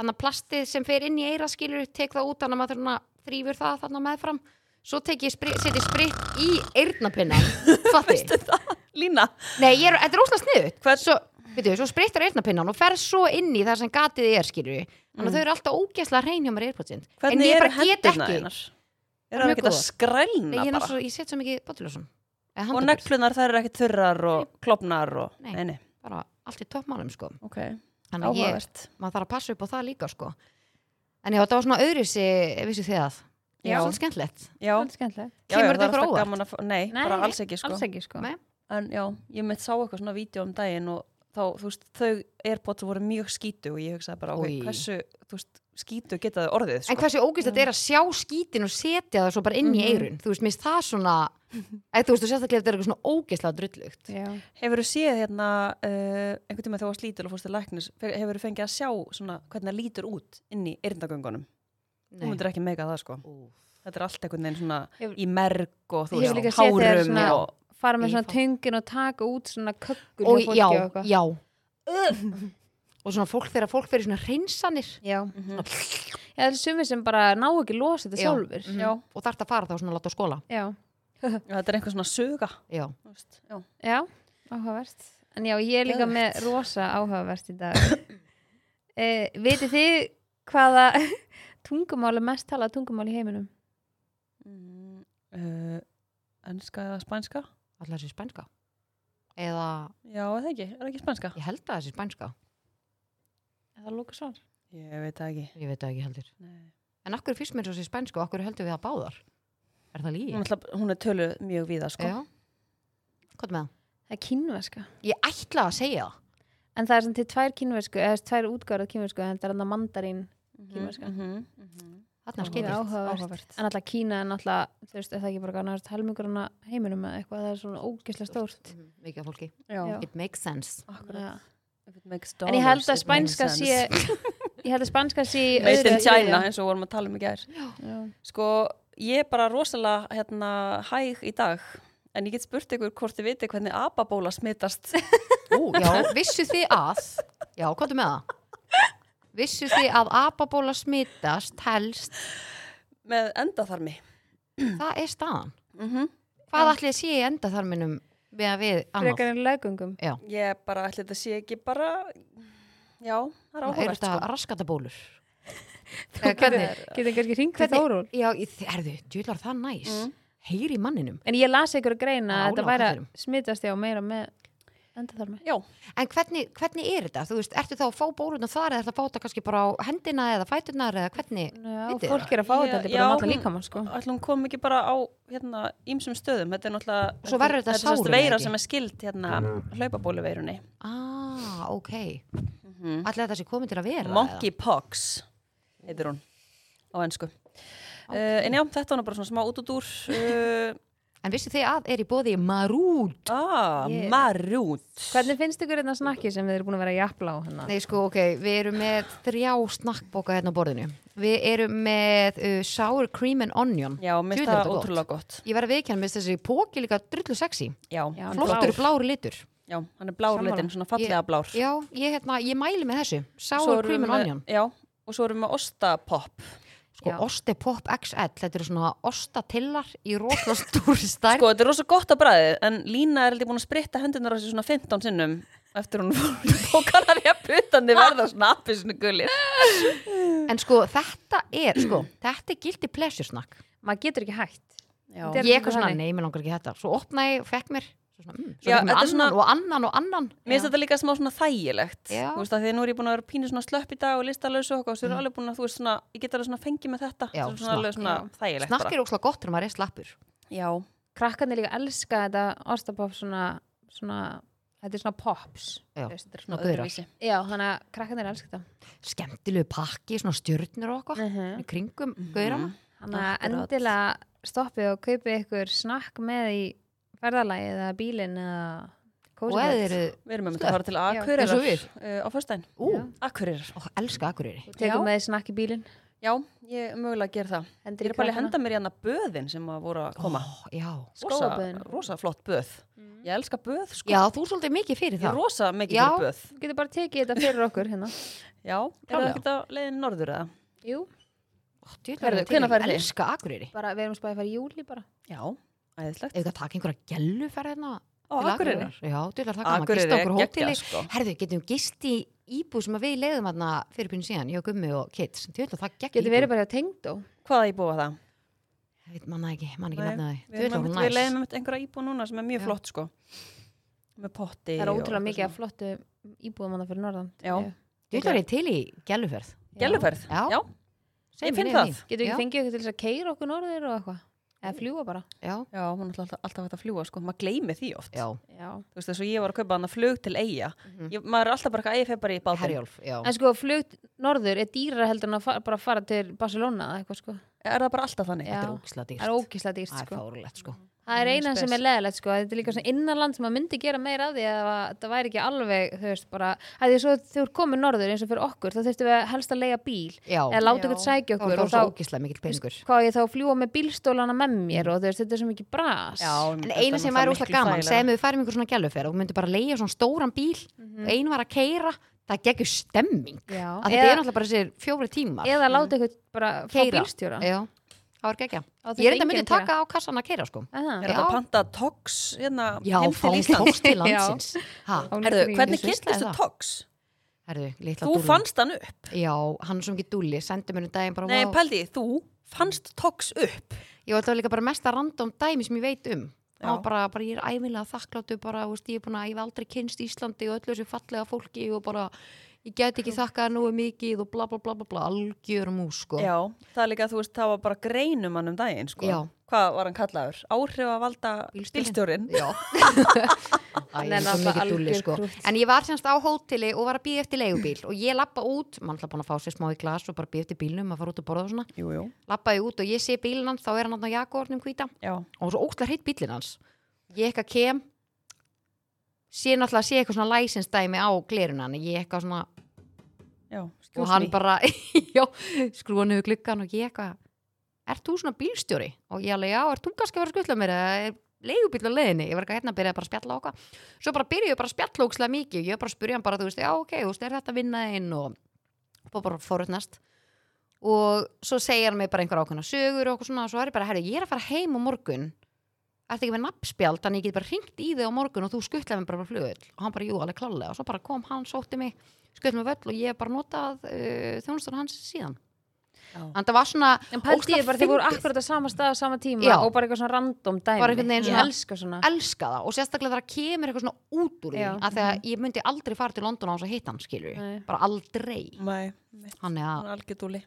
A: þannig plastið sem fer inn í eira, skilju, tek það út þannig að maður svona þrýfur það þarna meðfram. Svo tek ég, spri, setja spritt í eirnapinnan, fatti.
B: Lína,
A: Nei, ég er, þetta er óslega sniðut.
B: Hvern-
A: Svo, veitum, svo sprittur eirnapinnan og fer svo inn í það sem gatið er, skilju.
B: Mm.
A: Þannig að þau eru alltaf ógæslega hrein hjá mér eirpotsinn. En
B: hvernig
A: ég
B: eru
A: bara get
B: hendurna
A: ekki.
B: einar?
A: Bara
B: Er það
A: mjög
B: ekki að
A: góðar. Nei,
B: skrælna
A: ég, er
B: bara?
A: svo, ég set svo mikið bóttiljósum
B: Og neglunar þær eru ekki þurrar og klopnar og...
A: Nei.
B: Nei, nei,
A: bara allt í toppmálum sko
B: ok,
A: þannig að ég,
B: áhugavert
A: maður þarf að passa upp á það líka sko en já, þetta var svona öðrisi vissu þið að, já,
B: Já.
A: svolítið skemmtlegt
B: Já,
C: Svolítið skemmtilegt.
B: já,
A: Kemur
B: já,
A: þetta
B: það er
A: ykkur á
B: alltaf
A: óvart?
B: gaman að... fá- Nei,
C: Nei,
B: bara alls ekki sko.
C: Alls ekki sko.
A: Nei.
B: En já, ég mitt sá eitthvað svona vídeo um daginn og þá, þú veist, þau airpods voru mjög skítu og ég hugsaði bara, ok,
A: Új.
B: hversu, þú veist, skítu geta þau orðið,
A: en
B: sko. Mhm.
A: hversu ógist þetta er að sjá skítin og setja það svo bara inn í eirun þú veist, mér finnst það svona eða þú veist, þú sérstaklega þetta er eitthvað svona ógislega drullugt
C: Já.
B: Hefur þú séð hérna, uh, einhvern tíma þegar þú varst lítil og fórst til læknis, hefur þú fengið að sjá svona hvernig það lítur út inn í erindagöngunum? Þú myndir ekki mega það, sko. Þetta er allt einhvern veginn svona
C: Hefur-
B: í merg og þú
C: Ég hef líka
B: veist,
C: séð þegar
B: hárum
C: svona-
B: og...
C: Fara
A: Ég
C: með svona
A: fá-
C: töngin og taka út svona kökkur
A: og
C: hjá fólki
A: já,
C: og eitthvað.
A: já og svona fólk þegar fólk fyrir svona hreinsanir
C: Já. Já, það er sumir sem bara ná ekki losa þetta
A: Já.
C: sjálfur.
A: Mhm.
B: Já.
A: og þarf að fara þá svona að láta á skóla
C: Já.
B: Já, þetta er einhver svona söga.
A: já,
B: þú veist, Já.
C: Já, áhugavert. En já, ég er líka með rosa áhugavert í dag. e, Vitið þið hvaða tungumál er mest talað tungumál í heiminum?
B: Mm, uh, enska eða spænska?
A: allar þessi spænska eða,
B: Já, eða ekki, er það ekki spænska?
A: ég held að þessi spænska
C: Er Það lóka svar.
B: Ég veit það ekki.
A: ég veit það ekki heldur
B: Nei.
A: En akkur fyrst mér svo sé spænsku og akkur heldur við það báðar? Er það lígi?
B: Hún, ætla, hún er töluð mjög víða, sko.
A: Já. Hvað með það?
C: Það er kínverska.
A: Ég ætla að segja það.
C: En það er sem til tvær kínversku, eða þess tvær útgáður af kínversku, en það er annað mandarín. Kínverska.
B: Mm -hmm, mm -hmm.
A: Þarna er
C: Mjög
A: skeitir.
C: áhugavert.
B: Áhugavert.
C: En alltaf Kína er náttúrulega, þú veist, er það ekki bara gana helmingur hana heiminum eða eitthvað, það er svona ógeðslega stórt.
A: Mhm, Mikið af fólki.
B: Já.
C: Já.
A: It makes sense.
B: Akkurat.
C: Ja.
B: If it makes
C: En ég held að
B: dollars, it makes
C: spænska sé,
B: sense.
C: ég held að spænska sé í
B: Made
C: öðru
B: in
C: eða
B: China,
C: þriðja.
B: eins og vorum að tala um í gær.
C: Já.
B: Sko, ég er bara rosalega hérna, hæg í dag, en ég get spurt ykkur hvort þið viti hvernig apabóla smitast.
A: Ú, já, vissu þið að, já, hvað er með það? Vissu þið að apabóla smitast helst,
B: Með endaþarmi.
A: það er staðan.
B: Mm
A: Hvað ætli að sé í endaþarminum við að við annað?
C: Frekar en leggungum.
B: Ég bara ætli þetta sé ekki bara, já, það er
A: Er
B: áhugavert
A: þetta
B: sko.
A: raskatabólur?
C: Þú
A: Eða hvernig?
C: getur- getur kannski hringt til
A: Hvernig-
C: Þórul.
A: Já, ég- herðu, djúlar það næs.
B: Mm.
A: Heyri í manninum.
C: En ég las ykkur að greina
A: Álag
C: að þetta
A: á
C: væri að
A: kallinum.
C: smitast ég á meira með endaþarmi.
B: Já,
A: En hvernig, hvernig er þetta? Þú veist, ertu þá að fá bólurna þar eða ertu að fá þetta kannski bara á hendina eða fæturnar eða hvernig?
C: Já,
A: Vitið þið
C: fólk er að fá
B: Ég-
C: þetta heldur
B: já,
C: bara um allan
B: hún-
C: líkamann sko.
B: ætla hún kom ekki bara á hérna, ímsum stöðum. Þetta er náttúrulega,
A: Svo verður þetta
B: þetta er
A: sárið,
B: sérst veira
A: ekki?
B: sem er skild hérna hlaupabóluveirunni.
A: Ah, ok.
B: Mm
C: Mhm.
A: Allir þetta sé komið til að vera.
B: Monkeypox heitir hún á ennsku. Uh, en já, þetta var nú bara svona smá út út úr. Uh,
A: Eða? En vissu þið að er í bóði marút?
B: ah,
C: Ég-
B: marút.
C: Hvernig finnst ykkur þetta snakki sem þið eru búin að vera að japla á hérna?
A: Nei, sko, ok, við erum með þrjá snakkbóka hérna á borðinu. Við erum með uh, sour cream and onion.
B: Já, mér
A: Djöfull
B: finnst
A: er
B: það
A: þetta gott.
B: ótrúlega gott.
A: Ég var að viðkjann, minnst þessi póki líka drullu sexy.
B: Já,
C: Já, hann
A: Flottur
C: blár.
A: blár litur.
B: já, hann er blár
C: Sammála.
B: litin, svona fallega blár.
A: Já, ég, hérna, ég mæli með þessu.
B: Svo
A: Sour
B: erum
A: cream
B: við
A: and
B: með-
A: onion.
B: Já, og svo erum við með ostapopp.
A: Sko,
C: Já.
A: Ostepop XL, þetta eru svona ostatillar í rosa stúri stærð.
B: Sko, þetta er rosa gott að bræðið, en Lína er heldur búin að spritta hendunar á þessu svona 15 sinnum eftir hún fókar að reyja putandi verða svona appi svona gullir.
A: En sko þetta er sko, þetta er gildi pleasure snack
C: Maður getur ekki hægt.
B: Já,
C: Þetta
A: Ég
C: er
A: eitthvað svona,
C: þannig.
A: nei, mér langar ekki þetta Svo opnaði, ég, fekk mér svo svona, mm, Svo
B: Já,
A: fekk mér
B: þetta er
A: annan
B: svona-
A: og annan og annan
B: Mér finnst þetta líka smá svona þægilegt
A: Já. Mm.
B: Þú veist að því að nú er ég búin að vera pínu svona slöpp í dag og listalaus og okkur, svo er alveg búin að þú veist svona ég get alveg svona fengið með þetta
A: Já,
B: Svo er svona, alveg svona
C: snakk.
B: þægilegt
A: Snakk er óslega gott þegar maður er slappur
B: bara Já,
C: Krakkarnir líka elska þetta ostapopp svona, svona, þetta er svona pops.
A: Já.
C: Þú veist, þetta er
A: Svona
C: svona-
A: gaurar.
B: öðruvísi.
C: Já, þannig að krakkarnir elska þetta.
A: Skemmtilegu pakki, svona stjörnur og okkur
C: Mhm.
A: Í kringum
B: Mm.
A: gaurana
C: Þannig að
B: Akkurat.
C: endilega stoppið og kaupið ykkur snakk með í ferðalagi eða bílinn eða
A: og eða þeir eru,
B: Við erum með
A: Stöð.
B: að fara til
C: Já,
A: Sko, eins
B: Akureyrar
A: og við.
B: uh, á föstudaginn.
A: ú,
C: Já.
B: Akureyrar.
A: og elska Akureyri
C: og tekur með því snakk í bílin
B: Já, ég mögulega ger það. Ég er bara að henda mér hérna böðin sem að voru að koma.
A: Ó, já.
B: Rosa,
C: skóaböðin.
B: rosa flott böð. Ég elska böð, sko.
A: já, þú er svolítið mikið fyrir
B: Ég er
A: það
B: rosa mikið
A: Já.
B: fyrir böð.
C: Þú getur bara tekið þetta fyrir okkur hérna
B: Já, er það
A: Klárlega.
B: ekkert að leiðin norður eða?
C: Jú,
B: Heyrðu,
A: Hverðu,
B: hvenær farið þið?
A: elska Akureyri
C: bara við erum spæðið að fara í júli bara
B: Já, æðislegt.
A: eða það taka einhverja gelluferð hérna
B: Á
A: til
B: Akureyrar.
A: Akureyrar. já, þú ætlar að taka maður
B: Akureyri
A: gista
B: er
A: okkur
B: geggja,
A: hóteli
B: sko.
A: herðu, getum gist í íbúð sem að við leiðum hérna fyrir pínu síðan, ég og Gummi og Kids þú ætlar það gegn
C: Getur verið bara hjá tengdó
B: Hvaða íbúa var það?
A: bara manna ekki, manna ekki
B: Nei,
A: nefna þið
B: Við,
A: þú
B: erum
A: ætlar
B: einmitt-
A: hún
B: við
A: næs
B: leiðum einmitt einhverja íbúa núna sem er mjög
A: Já.
B: flott, sko. Með potti.
C: Það er
B: og
C: ótrúlega
B: eitthvað
C: mikið af
B: svona.
C: flottu íbúðum hann fyrir norðan
B: Já.
A: þú ætlar ég til í gelluferð
B: Gelluferð?
A: Já.
B: Já.
A: Segðu
B: Ég
A: mér
B: finn
A: leiðina
B: það.
A: þín.
C: Getur
A: Já,
C: ekki fengið okkur til þess að keira okkur norður og eitthvað Eða fljúa bara
A: já,
B: Já, hún er alltaf, alltaf hægt að fljúa, sko. Maður gleymi því oft.
A: já,
C: Já.
B: Þú veist, þess að ég var að kaupa hann flug til Eyja. ég, maður er alltaf bara eitthvað, "Æ, ég fer bara í bátinn.
A: Mhm. Herjólf já.
C: En sko flugt norður er dýrar heldur en að fara, bara fara til Barcelona eða eitthvað sko
B: Er það bara alltaf þannig?
C: Já.
A: þetta er ógislega dýrt
C: Það er ógislega dýrt
A: það er
C: sko
A: fárulegt sko
C: Það er
B: Mm,
C: eina sem
B: spes.
C: er leðilegt sko, að þetta er líka svona innanland sem maður myndi gera meira af því að það væri ekki alveg, þú veist, bara, að því svo þú ert komið norður eins og fyrir okkur, þá þurftum við helst að leiga bíl,
A: já,
C: eða
B: Já.
C: láta ykkur sækja
A: það
C: okkur
A: er
C: og þá,
A: svo ógislega mikill peningur
C: hvað á ég þá að fljúa með bílstólana með mér og þú veist, þetta er svo mikið bras.
A: En eina sem væri útla gaman, segjum við færum einhver svona gæluferð og myndu bara leiða svona stóran bíl og einu var að keira, það geggjur stemming
C: Mhm. Já.
A: að þetta er
C: Eða,
A: náttúrulega bara sér fjóri tímar
C: eða láta ykkur bara fá
A: Keyra.
C: bílstjóra.
A: Já, það var geggja
C: Á
A: Ég
C: þetta
A: er þetta
C: enginn
A: myndi
C: að gera.
A: taka á kassan að keira sko
C: Aha.
B: Er þetta
A: Já.
B: panta tox hérna
A: Já,
B: heim
A: fá
B: til Íslands?
A: tóks til landsins Ha,
C: Á
B: Herðu, hvernig
C: netinu.
A: Ég
B: kynntist
A: finnst
B: þú
A: það.
B: tox?
A: herðu, litla
B: Þú
A: dúllan.
B: fannst hann upp.
A: Já, hann er svo mikið dúlli, sendi mér um daginn bara
B: Nei,
A: vá.
B: pældi, því, þú fannst tox upp.
A: Ég var alltaf líka bara mesta random dæmi sem ég veit um
B: Já.
A: Ná, bara, bara ég er ævinlega þakkláttu bara, þú veist, ég er búin að ég hef aldrei kynst Íslandi og öllu þessu fallega fólki og bara ég get ekki þakkað nógu mikið og bla bla bla bla bla algjör mús sko
B: Já, það er líka, þú veist, það var bara greinum hann um daginn, sko.
A: Já.
B: Hvað var hann kallaður? Áhrif að valda
A: Bílstjórinn.
B: bílstjórin.
A: Já Æ,
C: Hann
A: ég er
C: er
A: svo
C: náttúrulega
A: mikið dúlli
C: algjör
A: sko
C: krútt.
A: En ég var semst á hóteli og var að býða eftir leigubíl og ég lappa út, mann ætla búin að fá sér smá í glas og bara býða eftir bílnum að fara út og borða og svona
B: Jú, jú.
A: Lappaði út og ég sé bílinn hans, þá er hann á jakórnum hvíta
B: Já.
A: og svo ógstlega hreitt bílinn hans Ég eitthvað kem sé náttúrulega sé eitthvað svona læsinsdæmi á glerun hann, ég eitthvað svona
B: Já,
A: og hann
B: skjóðsmi.
A: bara, já, skrúa niður gluggan og ég eitthvað Er þú svona bílstjóri? Og ég alveg, já, er þú kannski að vera að skutla mér eða er leigubíl á leiðinni? Ég var ekki hérna að byrja bara að spjalla okkar Svo bara byrjuðu bara að spjalla ókslega mikið og ég var bara að spyrja hann bara, þú veist, já, ok, þú veist, er þetta vinnaðinn og og bara fórutnast og svo segir hann mig bara einhver ákveðna sögur og okkur svona og svo er ég bara, herri, ég er að fara heim á morgun Ertu ekki með nafnspjald, þannig ég get bara hringt í þig á morgun og þú skuttlaði mér bara bara flugul og hann bara, jú, alveg klálega og svo bara kom hann, sótti mig, skuttlaði mér völl og ég hef bara notað uh, þjónustur hans síðan
B: Já.
A: Þannig að það var svona
C: En pældi ég
A: ógeðslega
C: bara þegar voru
A: fyndið.
C: akkurat á sama stað á sama tíma
A: Já.
C: og bara eitthvað svona random dæmi.
A: Bara einhvern veginn
C: Ég
A: svona-
C: elska svona.
A: elska það og sérstaklega þegar það kemur eitthvað svona út úr því
C: Já. Mhm.
A: að þegar ég myndi aldrei fara til London á þess að hitta hann skilur
C: Nei. Mm.
A: bara aldrei
B: Nei,
A: hann er
B: hann
A: að,
B: er algjördúli.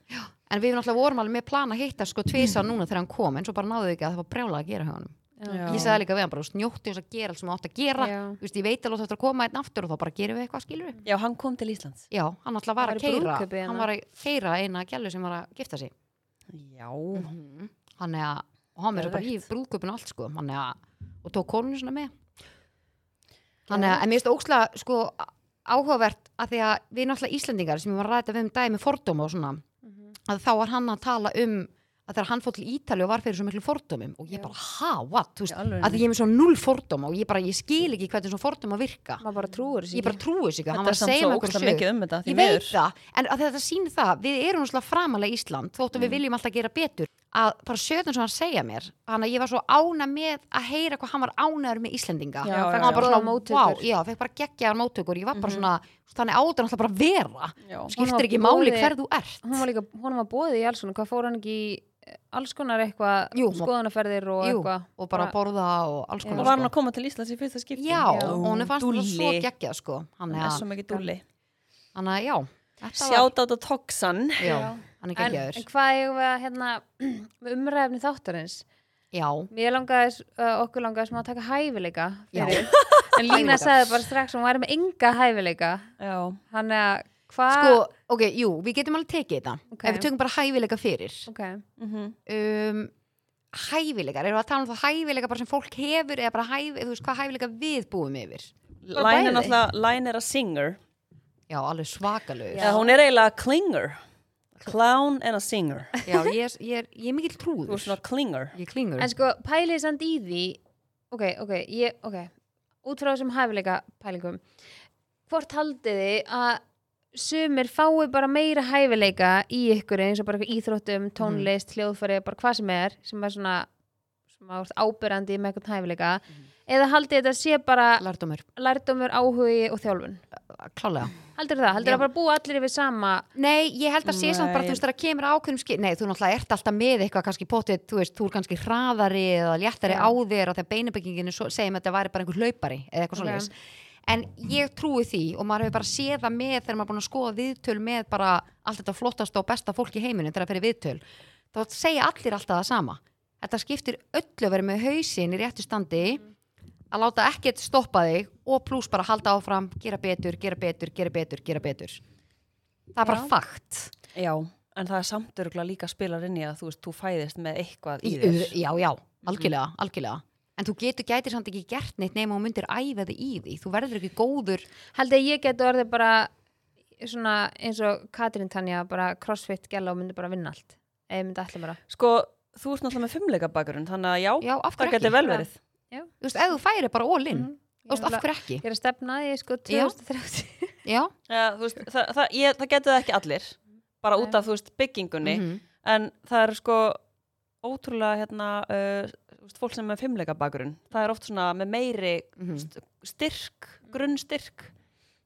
A: en við náttúrulega vorum alveg með plan að hitta sko tvisa núna þegar hann kom en svo bara náðu ekki að það var brjála að gera hjá hann
B: Já.
A: ég sagði líka við hann bara, þú veist, njóttu þess að gera allt sem þú átt að gera
C: Já.
A: Þú veist, ég veit alveg þú ættir að koma einn aftur og þá bara gerum við eitthvað skilur
B: Já, hann kom til Íslands.
A: já, hann náttúrulega var að
C: Hann var í
A: keira
C: brúðkaupi hérna.
A: hann var að keira eina gælu sem var að gifta sig
B: Já.
A: hann er að, og hann er svo bara í
B: Geðveikt.
A: brúðköpun og allt sko, hann er að, og tók konun svona með hann er að, en mér finnst ókslega sko áhugavert að því að við náttúrulega Íslendingar sem ég var að ræta við um dagi með fordóma og svona
B: Mhm.
A: að þá var hann að tala um að þegar hann fór til Ítali og var fyrir svo miklu fordómum og ég
C: Já.
A: bara, ha, what, þú veist
B: Í alvörunni.
A: að því ég er með svo null fordóma og ég bara, ég skil ekki hvernig svona fordóma virka
C: Maður bara trúur þessu
A: ég bara trúi sig ekki, hann var
B: Þetta er
A: að
B: samt
A: segja
B: svo
A: með
B: ógsta mikið um þetta. því
A: Ég veit
B: miður.
A: það, en að þetta sýnir það, við erum náttúrulega framalega Ísland, þóttum við viljum alltaf gera betur, að bara sjöðun sem hann segja mér, hann að ég var svo ána með að heyra hvað hann var ánaður með Íslendinga,
B: Já,
A: hann
B: já,
A: var
B: já.
A: bara
C: Góða
A: svona,
C: móttökur.
A: vá, já, fekk bara geggjaðar móttökur, ég var bara svona, þannig áður alltaf bara að vera,
B: Já.
C: var
A: skiptir ekki máli
C: bóði-
A: hver þú ert.
C: hún var líka, hún var bóðið í alls konar, hvað fór hann ekki í eh, alls konar eitthvað,
A: Jú, hún-
C: skoðunarferðir og
A: Jú,
C: eitthvað.
A: og bara borða og alls
C: Já.
B: Og
A: konar.
B: var hann
A: sko.
B: að koma til Íslands í fyrsta skipti?
A: Já,
C: Já.
A: og hún fannst það svo
B: Dúlli.
A: geggjað, sko, hann
B: Hann
A: er
B: er
A: að,
B: svo mikið dúli.
A: hann er, já, þetta var,
B: Sjátt á þetta toxan.
A: já,
C: Já.
A: hann er
C: En,
A: geggjaður,
C: en hvað eigum við að hérna, með umræfni þáttarins?
A: já,
C: Mér langaði, uh, okkur langaði smá að taka hæfileika
A: Já.
C: fyrir. En Lína
A: Hæfileika.
C: sagði bara strax, hún væri með enga hæfileika.
B: Já.
C: Þannig að hvað...
A: sko, ok, jú, við getum alveg tekið þetta,
C: Ah. Ok.
A: ef við tökum bara hæfileika fyrir.
C: Ok,
B: Mhm.
A: um, hæfileikar, erum við að tala um það hæfileika bara sem fólk hefur eða bara hæf, þú veist hvað hæfileika við búum yfir Bara
B: Læn er
A: bæði.
B: náttúrulega, Læn er að singer
A: Já, alveg svakalögur.
B: eða hún er eiginlega að klinger Clown and a singer
A: Já, ég er, ég er, ég er mikill
B: Þú
A: trúður.
B: er svona klinger
A: Ég er klingur.
C: En sko, pælið samt í því Ok, ok, ég, ok Út frá þessum hæfileika pælingum Hvort haldið þið að sumir fái bara meira hæfileika í ykkur eins og bara eitthvað íþróttum, tónlist, hljóðfæri, bara hvað sem er sem er svona sem að vera ábyrrandi með eitthvað hæfileika eða haldið þetta sé bara
A: Lærdómur,
C: lærdómur, áhugi og þjálfun
A: klálega.
C: Haldur það, haldur
A: Já.
C: það bara búa allir yfir sama
A: Nei, ég held að sé samt bara,
B: Nei.
A: þú veist, þegar kemur að ákveðum skil, nei, þú náttúrulega ert alltaf með eitthvað kannski potið, þú veist, þú er kannski hraðari eða léttari
C: Já.
A: á þér og þegar beinubygginginu svo- segjum að þetta væri bara einhver hlaupari eða eitthvað
C: Ok.
A: svoleiðis. En ég trúi því og maður hefur bara séð það með þegar maður er búin að skoða viðtöl með bara allt þetta flottasta og besta fólk í heiminu þegar það fyrir viðtöl. Þá segja allir alltaf það sama. Þetta skiptir öllu að vera með hausinn í réttu standi að láta ekkert stoppa þig og pluss bara halda áfram, gera betur, gera betur, gera betur, gera betur. Það er bara
C: Já.
A: fakt.
B: Já, en það er samt örgulega líka spilar inn í að þú veist, þú fæðist með eitthvað í
A: Í,
B: þér
A: já, já, algjörlega, algjörlega. En þú getur gætir samt ekki gert neitt nema og myndir æfa þig í því. Þú verður ekki góður.
C: Haldið að ég geti orðið bara svona eins og Katrín Tanja bara crossfit gæla og myndi bara vinna allt eða myndi allir bara
B: Sko, þú ert náttúrulega með fimmleika bakgrunn þannig að já,
A: Já, af
B: það
A: hverju
B: getur
A: ekki?
B: vel verið
A: Þú veist, ef þú færi bara ólinn,
C: Mhm.
A: þú veist, af
C: Ég
A: hverju ekki?
C: er að stefna að ég sko
A: Já.
C: 2030
A: Já,
B: ja, veist, það, það, ég, það getur það ekki allir bara út af, þú veist, byggingunni
A: Mhm.
B: en það er sko ótrúlega hérna uh, þú veist, fólk sem er með fimmleika bakgrunn það er oft svona með meiri
A: Mhm.
B: st styrk, grunnstyrk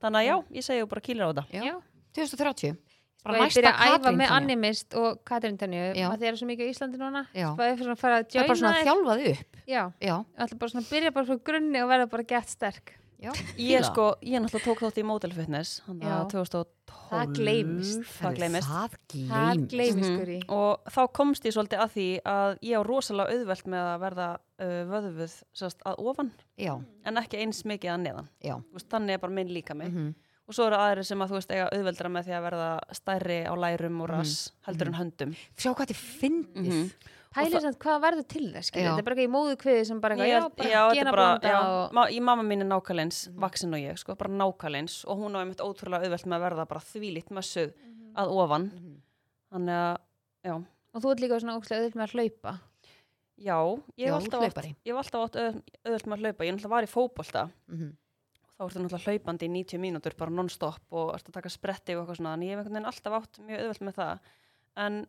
B: þannig að já, ég segi bara kýlir á þetta
A: Já.
C: Já.
A: 2030.
C: og
A: Bara
C: ég
A: næsta
C: byrja að æfa
A: Katrín
C: með
A: Tanja.
C: animist og Katrín Tanja
A: Já.
C: að þið eru svo mikið á Íslandi núna
A: Já.
C: Svo bara ég fyrir svona að fara að
A: Það er bara svona
C: joina
A: að
C: þér.
A: þjálfa þig upp.
C: Já,
A: Já,
C: ég ætla bara svona að byrja bara frá grunni og verða bara gett sterk
A: já. fíla.
B: ég sko, ég náttúrulega tók þátt í Model Fitness hann
C: Já.
B: að 2012
C: Það gleymist.
B: það gleymist
A: Það
C: það
A: gleymist.
C: gleymist
B: Mhm.
C: skuri
B: og þá komst ég svolítið að því að ég á rosalega auðvelt með að verða uh, vöðvuð sérst, að ofan
A: Já,
B: en ekki eins mikið að neðan
A: já.
B: Þú veist, þannig er bara minn líka mig
A: Mhm.
B: og svo eru aðrir sem að þú veist eiga auðveldra með því að verða stærri á lærum
A: Mhm.
B: og rass heldur en höndum
A: Sjá hvað þið fyndið.
C: Pælið samt hvað verður til þess skilur
A: Já.
C: Þetta er bara eitthvað í móðu kviði sem bara
B: Ég- já,
C: eitthvað, já, bara
B: þetta
C: gena
B: er
C: blanda
B: já,
C: og
B: ma- í mamma mín er nákvæmleins vaksin og ég, sko, bara nákvæmleins og hún á einmitt ótrúlega auðvelt með að verða bara þvílitt mössuð að ofan
A: Mhm.
B: þannig að, já,
C: og þú ert líka svona ókslega auðvitað með að hlaupa
B: já ég
A: Já,
B: hef
A: þú
B: alltaf átt-
A: hlaupari.
B: ég hef alltaf átt auð- auðvelt með að hlaupa, ég náttúrulega var í fótbolta
A: Mhm.
B: og þá ertu náttúrulega hlaupandi í 90 mínútur bara non-stop og ertu að taka spretti og eitthvað svona en ég hef einhvern veginn alltaf átt mjög auðvelt með það en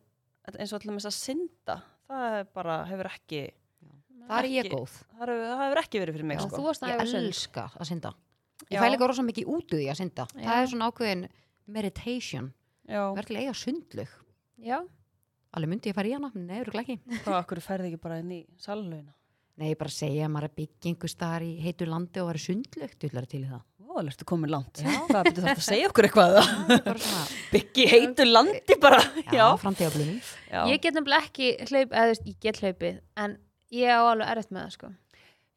B: þetta eins og alltaf með þess að synda það er bara hefur ekki
A: Það er ég
B: Ekki-
A: góð.
B: það hefur, það hefur ekki verið fyrir mig
C: Já,
B: sko.
C: Þú varst að
A: Ég
C: æfa sund
A: elska að synda. Ég
B: Já.
A: fæl ekki rosa mikið út úr því að synda. Það
C: Já.
A: er svona ákveðin meditation.
B: Já,
A: Verður eiga sundlug.
C: Já,
A: Alveg myndi ég fara í hana, nei, eru ekki.
B: þá okkur ferði ekki bara inn í salunlauna
A: Nei, ég bara segja að maður er byggingus þar í heitu landi og verður sundlug, þú ætlar til í það.
B: Ó, það ertu komin langt Hvað betur þetta að segja okkur eitthvað
A: Það er bara svona,
B: Byggi heitu landi bara
A: já,
B: Já,
A: framtíðablunum.
B: já.
C: ég get nefnilega ekki hlaup eða þú veist, ég get hlaupið en ég á alveg erfitt með það sko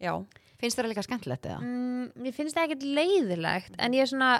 B: já.
A: Finnst þér það líka skemmtilegt eða?
C: mm, Mér finnst það ekkert leiðilegt en ég er svona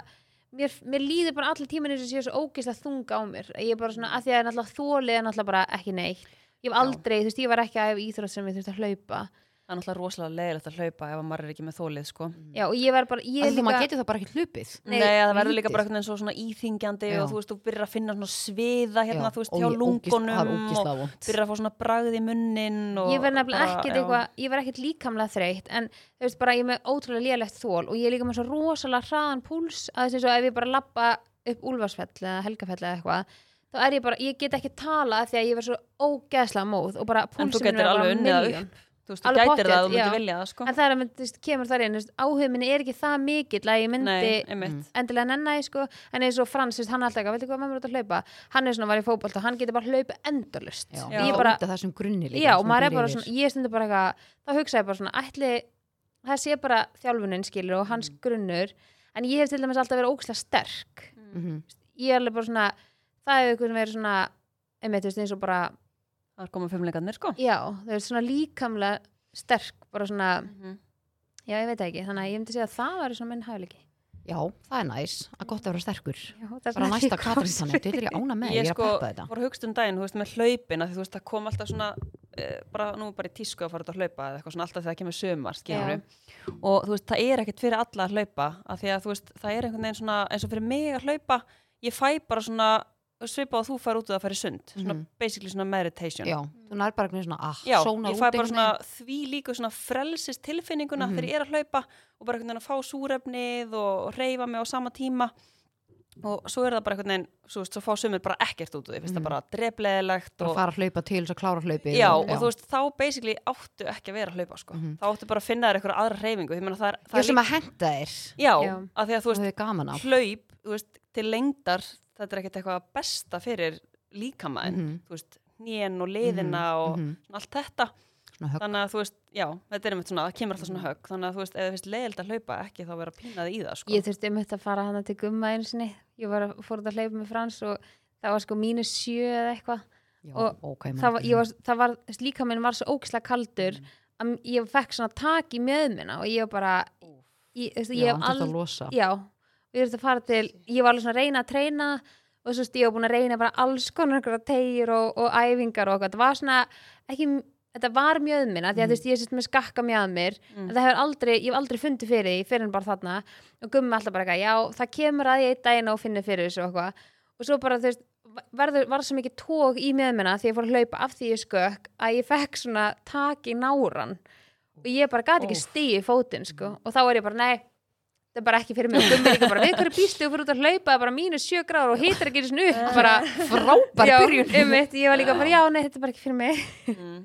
C: Mér, mér líður bara allir tíman eins og séu svo ógist að þunga á mér ég er bara svona, að því að náttúrulega þólið er náttúrulega bara ekki neitt ég hef aldrei, þú veist, ég var ekki að íþrótt sem ég þurfti að hlaupa
B: Það er náttúrulega rosalega leiðilegt að hlaupa ef að maður er ekki með þólið sko.
C: já, og ég var bara, ég
A: Þú maður
C: líka
A: getur það bara ekki hlupið.
B: Nei, það verður líka
A: lítið.
B: bara einhvern veginn svo svona íþingjandi
A: Já.
B: og þú veist, þú byrjar að finna svona sviða hérna,
A: Já,
B: þú veist,
A: og
B: hjá
A: ég- ógist- Það er
B: lungunum og
A: ógislega vond.
B: byrjar að fá svona bragð í munnin og
C: ég var nefnilega
B: bara-
C: ekkert
B: já.
C: eitthvað, ég var ekkert líkamlega þreytt en þú veist bara ég er með ótrúlega lélegt þól og ég er líka með svo rosalega hraðan púls að þess að ef ég bara lappa upp Úlfarsfell eða Helgafell eða eitthvað þá er ég bara, ég get ekki tala af því að ég verð svo ógeðslega móð og bara
B: En þú
C: púlsum
B: getur alveg unnið það upp Þú veist, þú
C: Alveg
B: gætir það
C: pottþétt,
B: að þú myndir
C: já.
B: vilja það sko
C: en það er að mynd, þú veist, kemur þar inn þú veist, áhug minni er ekki það mikill að ég myndi
B: Nei, einmitt
C: endilega nenni því, sko, en eins og Frans þú veist, hann er alltaf eitthvað, veitir hvað mamma er út að hlaupa hann er svona var í fótbolt og hann getur bara hlaupa endalust
A: Já, ég
B: Já.
A: bara,
C: ég bara,
A: út af þessum grunni líka.
C: já,
A: sem
C: og maður er
A: þú
C: bara
A: lifir.
C: svona, ég stundi bara eitthvað þá hugsa ég bara svona, ætli það sé bara þjálfunin skilur og hans grunnur en ég hef til dæmis alltaf verið ókslega sterk
A: Mhm.
C: ég er alveg bara svona, það hefur einhvern verið svona einmitt, þú veist, eins og bara
B: Það er komað fimmleikarnir sko
C: já, þau eru svona líkamlega sterk, bara svona
B: Mhm.
C: já, ég veit það ekki, þannig að ég myndi segja að það væri svona minn hæfileiki
A: Já, það er næs. að gott að vera sterkur.
C: Já, það
A: Bara
C: er svona
A: næsta
C: líkamlega
A: Katrín þannig,
C: sterk.
A: þetta er ég ána með,
B: Ég
A: ég er að
B: sko
A: peppa þetta.
B: voru að hugsa um daginn, þú veist, með hlaupin af því þú veist, það kom alltaf svona eh, bara, nú er bara í tísku að fara út að hlaupa eða eitthvað svona alltaf þegar það kemur sömar
C: Já.
B: og þú veist, það er ekkert fyrir alla að hlaupa af því að þú veist, það er einhvern veginn svona eins og fyrir mig að hlaupa, ég fæ bara svona svipa og þú fær út að það færi sund svona
A: Mhm.
B: basically svona meditation
A: já, þú nær bara einhvern veginn svona ah,
B: Já,
A: sónar
B: ég
A: út
B: fæ bara
A: einhvern
B: svona
A: veginn.
B: því líku svona frelsist tilfinninguna
A: Mhm.
B: þegar ég er að hlaupa og bara einhvern veginn að fá súrefnið og reyfa mig á sama tíma og svo er það bara einhvern veginn svo, veist, svo fá sumir bara ekkert út úr því, finnst það
A: Mhm.
B: bara dreflegilegt
A: bara að
B: og,
A: fara að hlaupa til þess að klára hlaupið
B: já, og þú veist, þá basically áttu ekki að vera að hlaupa sko.
A: Mhm.
B: þá áttu bara að finna þér einhverja aðra reyfingu Ég meina, það er, það
A: ég
B: er
A: sem
B: líka-
A: að henda þér
B: já,
C: Já.
B: af því að þú
A: og
B: veist,
A: þau er gaman af
B: hlaup þú veist, til lengdar, þetta er ekkert eitthvað besta fyrir líkamaðin
A: Mhm.
B: þú veist, nén og liðina og
A: Mhm.
B: svona allt þetta
A: svona högg Mm.
B: þannig að þú veist, já, þetta er einmitt svona það kemur alltaf svona högg, þannig að þú veist, ef þið finnst leiðild að hlaupa ekki þá vera pínað í það, sko
C: Ég þurfti um þetta að fara hana til gumma einu sinni. Ég var að fór út að hleypa með frans og það var sko mínus sjö eða eitthvað.
A: já,
C: og
A: ok, ég man
C: Það var,
A: eftir Mm.
C: ég
A: því.
C: var, það var, líka minn var svo ógislega kaldur að ég fekk svona tak í mjöðmina og ég var bara, ég, þú
A: já,
C: veist, ég hef
A: hann þurfti
C: aldrei
A: að losa
C: já, og ég þurfti að fara til ég var alveg svona að reyna að treyna og svo veist, ég var búin að reyna bara alls konar einhverja tegir og, og æfingar og eitthvað, það var svona ekki, þetta var mjöðmina því að þú veist, ég er sérst með skakka mjöðmir
B: Mm.
C: en það hefur aldrei, ég hef aldrei fundið fyrir því fyrir en bara þarna og gummi alltaf bara eitthvað, já, það kemur að ég einn daginn og finni fyrir þessu og eitthvað og svo bara þú veist, verður, var svo mikið tók í mjöðmina því ég fór að hlaupa af því ég skökk að ég fekk svona tak í náran og ég bara gati ekki
B: Óff.
C: stíð í fótinn sko og þá er ég bara, nei, það er bara ekki fyrir mig og gummi er líka bara, við hverju býstu og fyrir út að hlaupa það er bara mínus sjö gráður og hitar ekki svona upp bara,
A: frábær
C: já,
A: byrjun
C: um ég var líka bara, já, nei, þetta er bara ekki fyrir mig
B: mm.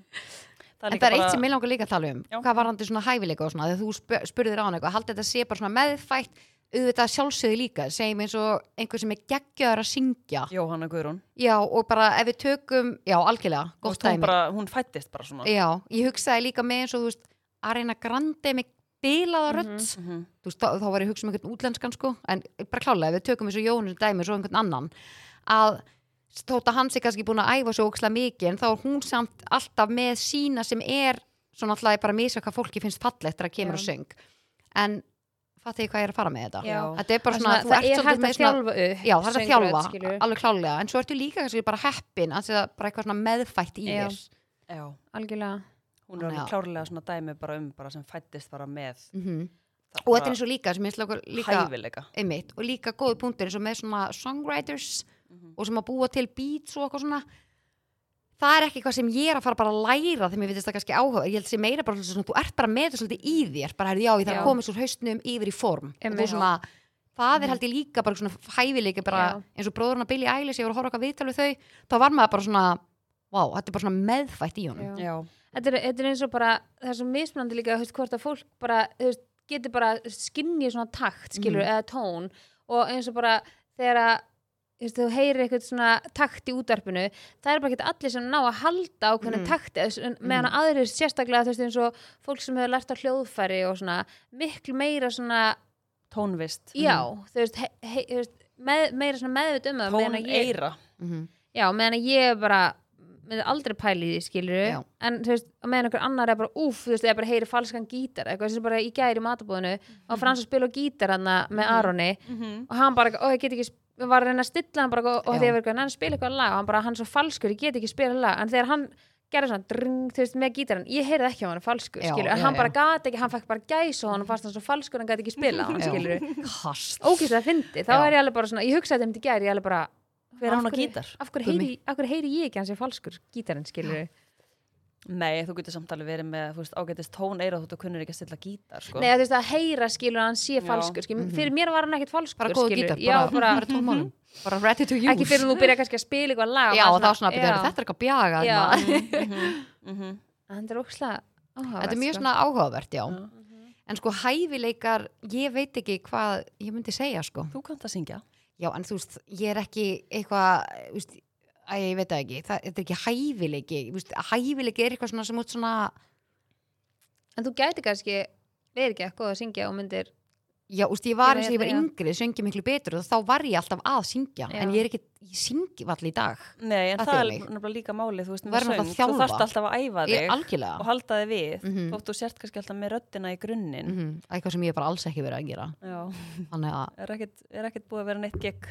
A: En það er eitt sem ég langar líka að tala um,
B: Já.
A: hvað var hann til svona hæfileika og svona, þegar þú sp- spurðir á hann eitthvað, haldið þetta sé bara svona meðfætt, auðvitað sjálfsögðu líka, segjum eins og einhver sem er geggjöður að syngja,
B: Jóhanna Guðrún,
A: já og bara ef við tökum, já algjörlega,
B: Þú
A: gott
B: veist, hún,
A: dæmi,
B: bara, hún fættist bara svona
A: já, ég hugsaði líka með eins og þú veist, Arena Grande með bilaða rödd,
B: Mhm.
A: þú veist, þá, þá var ég að hugsa um einhvern útlenskan sko, en bara klálega, ef við tökum eins og Jónu sem dæmi og svo einhvern annan, að þótt að hans er kannski búin að æfa svo ókslega mikið en þá er hún samt alltaf með sína sem er svona alltaf bara að misa hvað fólki finnst fallegt þegar að kemur
C: Já.
A: og söng en fattið ég hvað ég er að fara með þetta
C: Já.
A: þetta er bara
C: Að
A: svona, þú
C: það
A: ert
C: er
A: svolítið
C: hægt
A: með
C: að
A: svona
C: þjálfa upp
A: já, það er að
C: söngrödd,
A: þjálfa,
C: skilurðu.
A: alveg klálega en svo ertu líka kannski bara heppin að það er bara eitthvað svona meðfætt í
C: Já.
A: þér
B: Já,
C: algjörlega
B: hún er
A: Já.
B: alveg klárlega svona dæmi bara um bara sem fættist bara með
A: mm
B: það
A: og
B: bara
A: þetta er eins og líka, sem ég slagur líka
B: hæfileika
A: einmitt, og líka góðu punktur eins og með svona songwriters
C: Mhm.
A: og sem að búa til beats og eitthvað svona það er ekki eitthvað sem ég er að fara bara að læra þegar mér finnst það kannski áhuga ég held sem meira bara svolítið svona, þú ert bara með þetta svolítið í þér bara, herri, já, ég þarf
C: Já.
A: að koma svo haustnum yfir í form og þú
C: Einmitt. Mhm.
A: svona, það er held ég líka bara svona hæfileiki bara,
C: Já.
A: eins og bróðurinn að Billie Eilish, ég voru að horfa okkar viðtal við þau þá var maður bara svona, wow, þetta er bara svona meðfætt í honum
C: Já.
B: Já,
C: þetta er, þetta er eins og bara það er svo mismunandi líka þú veist, hvort að fólk bara þú veist, getur bara skinni svona takt skilur, eða tón og eins og bara þegar að þú veist, þú heyrir eitthvað svona takt í útarpinu það er bara ekki allir sem ná að halda á hvernig
A: Mhm.
C: takti, en meðan mm. aðrir sérstaklega þú veist eins og fólk sem hefur lært á hljóðfæri og svona miklu meira svona
B: tónvist
C: já, þú veist, he, he, þú veist með, meira svona meðvitt um það
B: Tón
C: meðan að ég-
B: eira
A: Mhm.
C: Já, meðan að ég er bara með aldrei pæli í því skilur
A: Já.
C: en þú veist, og meðan einhver annar er bara úf, þú veist, eða bara heyri falskan gítar eitthvað þessi bara í gæri í matabóðinu og
A: Mhm.
C: frans að spila á gítar hann með Aroni og hann bara, eitthvað, ó, ég get ekki sp- við var að reyna að stilla hann bara eitthvað, og
A: Já.
C: því að verður hann spila eitthvað lag og hann bara, hann er svo falskur, ég get ekki spila lag en þegar hann gerði svona dring, þú veist, með gítarinn ég heyrði ekki að hann er falskur,
A: Já,
C: skilur en
A: já,
C: hann
A: já.
C: bara gat ekki, hann fekk bara gæs og hann fannst hann svo falskur, hann gat ekki spila hann,
A: Já.
C: skilur,
A: Kast.
C: ógæslega fyndi þá
A: Já.
C: er ég alveg bara svona, ég hugsaði þetta um þetta gæri, ég alveg bara
B: Hver á
C: Af
B: hann á
C: hverju-
B: gítar?
C: af hverju
A: Gummi.
C: heyri, af hverju heyri ég ekki hans ég falskur gítarinn skilur
B: Nei, þú getur samtalið verið með, þú veist, ágætist tón eira þú veist, þú kunnir ekki að stilla gítar, sko
C: Nei, þú veist að heyra skilur að hann sé
B: Já.
C: falskur skilur. fyrir mér var hann ekkert falskur
A: bara góðu
C: skilurðu.
A: gítar,
C: já,
A: bara,
C: bara, Mhm.
A: bara tómálum bara ready to use
C: ekki fyrir þú byrja kannski að spila eitthvað lag
A: já,
C: maður
A: og þá svona, byrja,
C: já.
A: þetta er eitthvað bjaga
C: Já.
A: hérna.
B: Mhm.
C: þetta er ókslega áhugavert
A: þetta er mjög
C: sko.
A: svona áhugavert, já
B: Já.
A: en sko hæfileikar, ég veit ekki hvað ég myndi segja sko
B: Þú kannt að syngja
A: já, en þú veist, ég er ekki eitthvað þú veist, æ, ég veit það ekki, það, þetta er ekki hæfileiki þú veist, hæfileiki er eitthvað svona sem út svona
C: en þú gæti kannski verið ekki eitthvað að syngja og myndir
A: já, þú veist, ég var
C: Ég
A: eins og
C: veit
A: ég var
C: það, já.
A: yngri söngi miklu betur og þá var ég alltaf að syngja
C: Já.
A: en ég er ekki, ég syngi vall í dag
B: Nei, en
A: Það
B: það,
A: fyrir
B: er
A: mig.
B: náttúrulega líka máli Þú veist, með
A: Verður
B: söng,
A: náttúrulega
B: þú
A: að
B: þarft
A: þjálfa.
B: alltaf að æfa
A: ég,
B: þig og
A: algjörlega
B: halda þig við
A: Mhm.
B: þótt þú sért kannski alltaf með röddina í grunnin
A: mm Mhm. eitthvað sem ég er bara alls ekki verið að gera
B: Já,
A: þannig að,
B: er ekkert, er ekkert búið að vera neitt gegn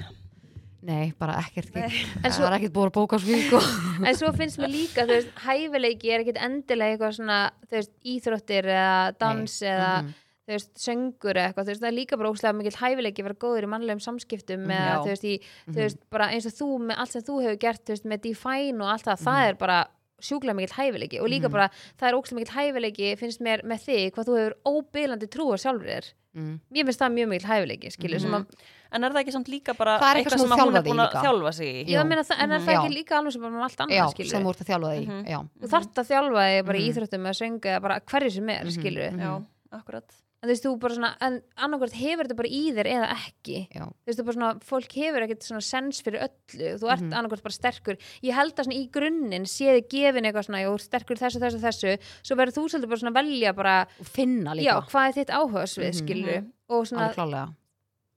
A: Nei, bara ekkert gig.
C: En svo-
A: Það er ekkert búið að bóka svo sko.
C: en svo finnst mér líka, þú veist, hæfileiki er ekkit endilega eitthvað svona, þú veist, íþróttir eða dans eða
A: Mhm.
C: þú veist, söngur eða eitthvað, þú veist, það er líka bara óslega mikill hæfileiki að vera góður í mannlegum samskiptum
B: Mhm.
C: eða
B: Já.
C: þú veist, í, þú veist, bara eins og þú með allt sem þú hefur gert, þú veist, með Define og allt það, það er bara sjúklega mikill hæfileiki og líka
A: Mhm.
C: bara, það er óslega mikill hæfileiki finnst mér með þig, hvað þú hefur óbylandi trú á sjálfur þér,
A: Mm.
C: mér finnst það mjög mikill hæfileiki, skilur, sem
A: Mhm,
C: að
B: Mhm. En er það ekki samt líka bara
A: Það er eitthvað sem þú
B: sem að hún
A: þjálfar
B: er
A: þig
B: búin að
A: líka.
B: þjálfa sig í?
A: Já.
C: Já, meina, það, en er
A: Mhm.
C: það ekki
A: Já.
C: líka alveg sem bara með allt annað,
A: Já,
C: skilur
A: sem þú ert að þjálfa þig í.
B: Mhm.
A: Já.
C: þú þarft að þjálfa þig bara
A: Mhm.
C: í íþróttum eða söngu eða bara hverju sem er,
A: Mhm,
C: skilur
A: mhm.
B: Já, akkurat.
C: en þú veist, þú bara svona, en annarkvært hefur þetta bara í þér eða ekki
A: Já.
C: þú veist, þú bara svona, fólk hefur ekkert svona sens fyrir öllu, þú ert
A: Mhm.
C: annarkvært bara sterkur ég held að svona í grunninn séði gefin eitthvað svona, ég er sterkur í þessu, þessu, þessu svo verður þú svolítið bara svona að velja bara
A: Og finna líka.
C: já, hvað er þitt áhugasvið,
A: Mhm.
C: skilur og svona,
A: Alveg klálega.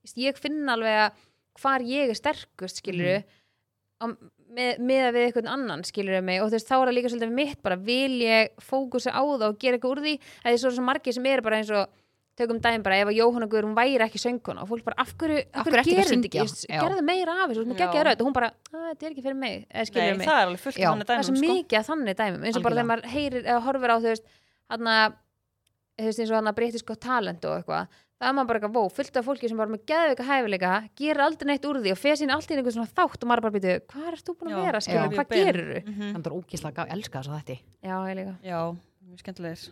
C: veist, ég finn alveg að hvar ég er sterkust skilur
A: Mhm.
C: mm. með, með við einhvern annan skilur mig og þú veist þá er það líka svolítið mitt bara vil ég fókusa á það og gera eitthvað úr því að því svo er svo margir sem eru bara eins og tökum dæmi bara ef að Jóhanna Guðrún væri ekki sönguna og fólk bara af hverju, af
A: Af hverju
C: hverju,
A: ertu ekki að
C: gerir þetta
A: syngja?
C: ekki
A: Já.
C: gerðu meira af þessu, þú
B: Já.
C: geggja rödd og hún bara, "Æ, þetta er ekki fyrir mig eða
B: Nei,
C: skilur mig
B: það er alveg fullt
A: Já.
B: af þannig
C: það er svo
B: dæmum, sko.
C: mikið af þannig dæmum eins og bara
A: Algjörlega.
C: þegar maður heyrir eða horfir á þú veist hann veist eins og hann að breytisko talent og eitthvað það er maður bara eitthvað, vó, fullt af fólki sem bara með geðveika hæfileika gerir aldrei neitt úr því og fer sín alltaf í einhvern svona þátt og maður bara býtu hvað er þú búin að
B: Já,
C: vera,
A: já.
C: skilur, hvað
B: Björn.
C: gerir þú?
B: Mhm.
A: Þannig að ógislega gaf, elska þess að þetta.
C: Já, ég líka
B: Já, mjög skemmtilegir.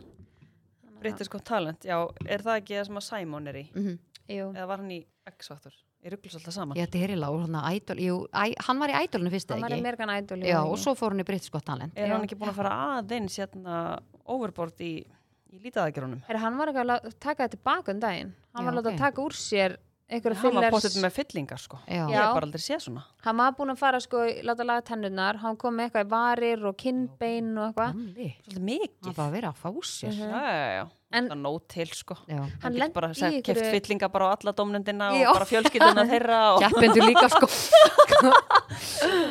B: Breytir sko talent, já, er það ekki það sem að Simon er í?
A: Mhm.
C: Jú,
A: Mm.
B: Eða var hann í X-Factor? Ég rugglis alltaf saman.
A: Ég ætti herila og svona ædol, jú, æ, hann var í ædolinu fyrst
C: það
A: eða
C: var
A: ekki.
C: mergan ædol
A: Já, og svo fór hann í Britiskott talent.
B: Er
C: Já.
B: hann ekki búin að fara aðeins hérna overboard í, í lítaðagjörunum?
C: Heru, hann var eitthvað að lá- taka þetta tilbaka um daginn hann
A: Já,
C: var að láta
A: ok.
C: taka úr sér einhverja
B: Hann var
C: fillers
B: pottet með fyllingar sko.
A: Já.
B: Ég
C: Já.
B: hef bara aldrei séð svona.
C: hann var búin að fara sko, láta laga tennurnar hann kom með eitthvað í varir og kinnbein og eitthvað
A: Þannig.
B: Svolítið mikið.
A: Hann bara verið að fá sér.
C: Mhm.
B: Já, já, já.
C: En-
B: það er nóg til sko.
A: Já.
C: Hann
B: Hann getur
C: lenti
B: bara
C: í
B: að segja keft
C: einhverju-
B: fyllinga bara á alla domnendina
C: Já.
B: og bara fjölskylduna þeirra og
A: Keppendur líka sko.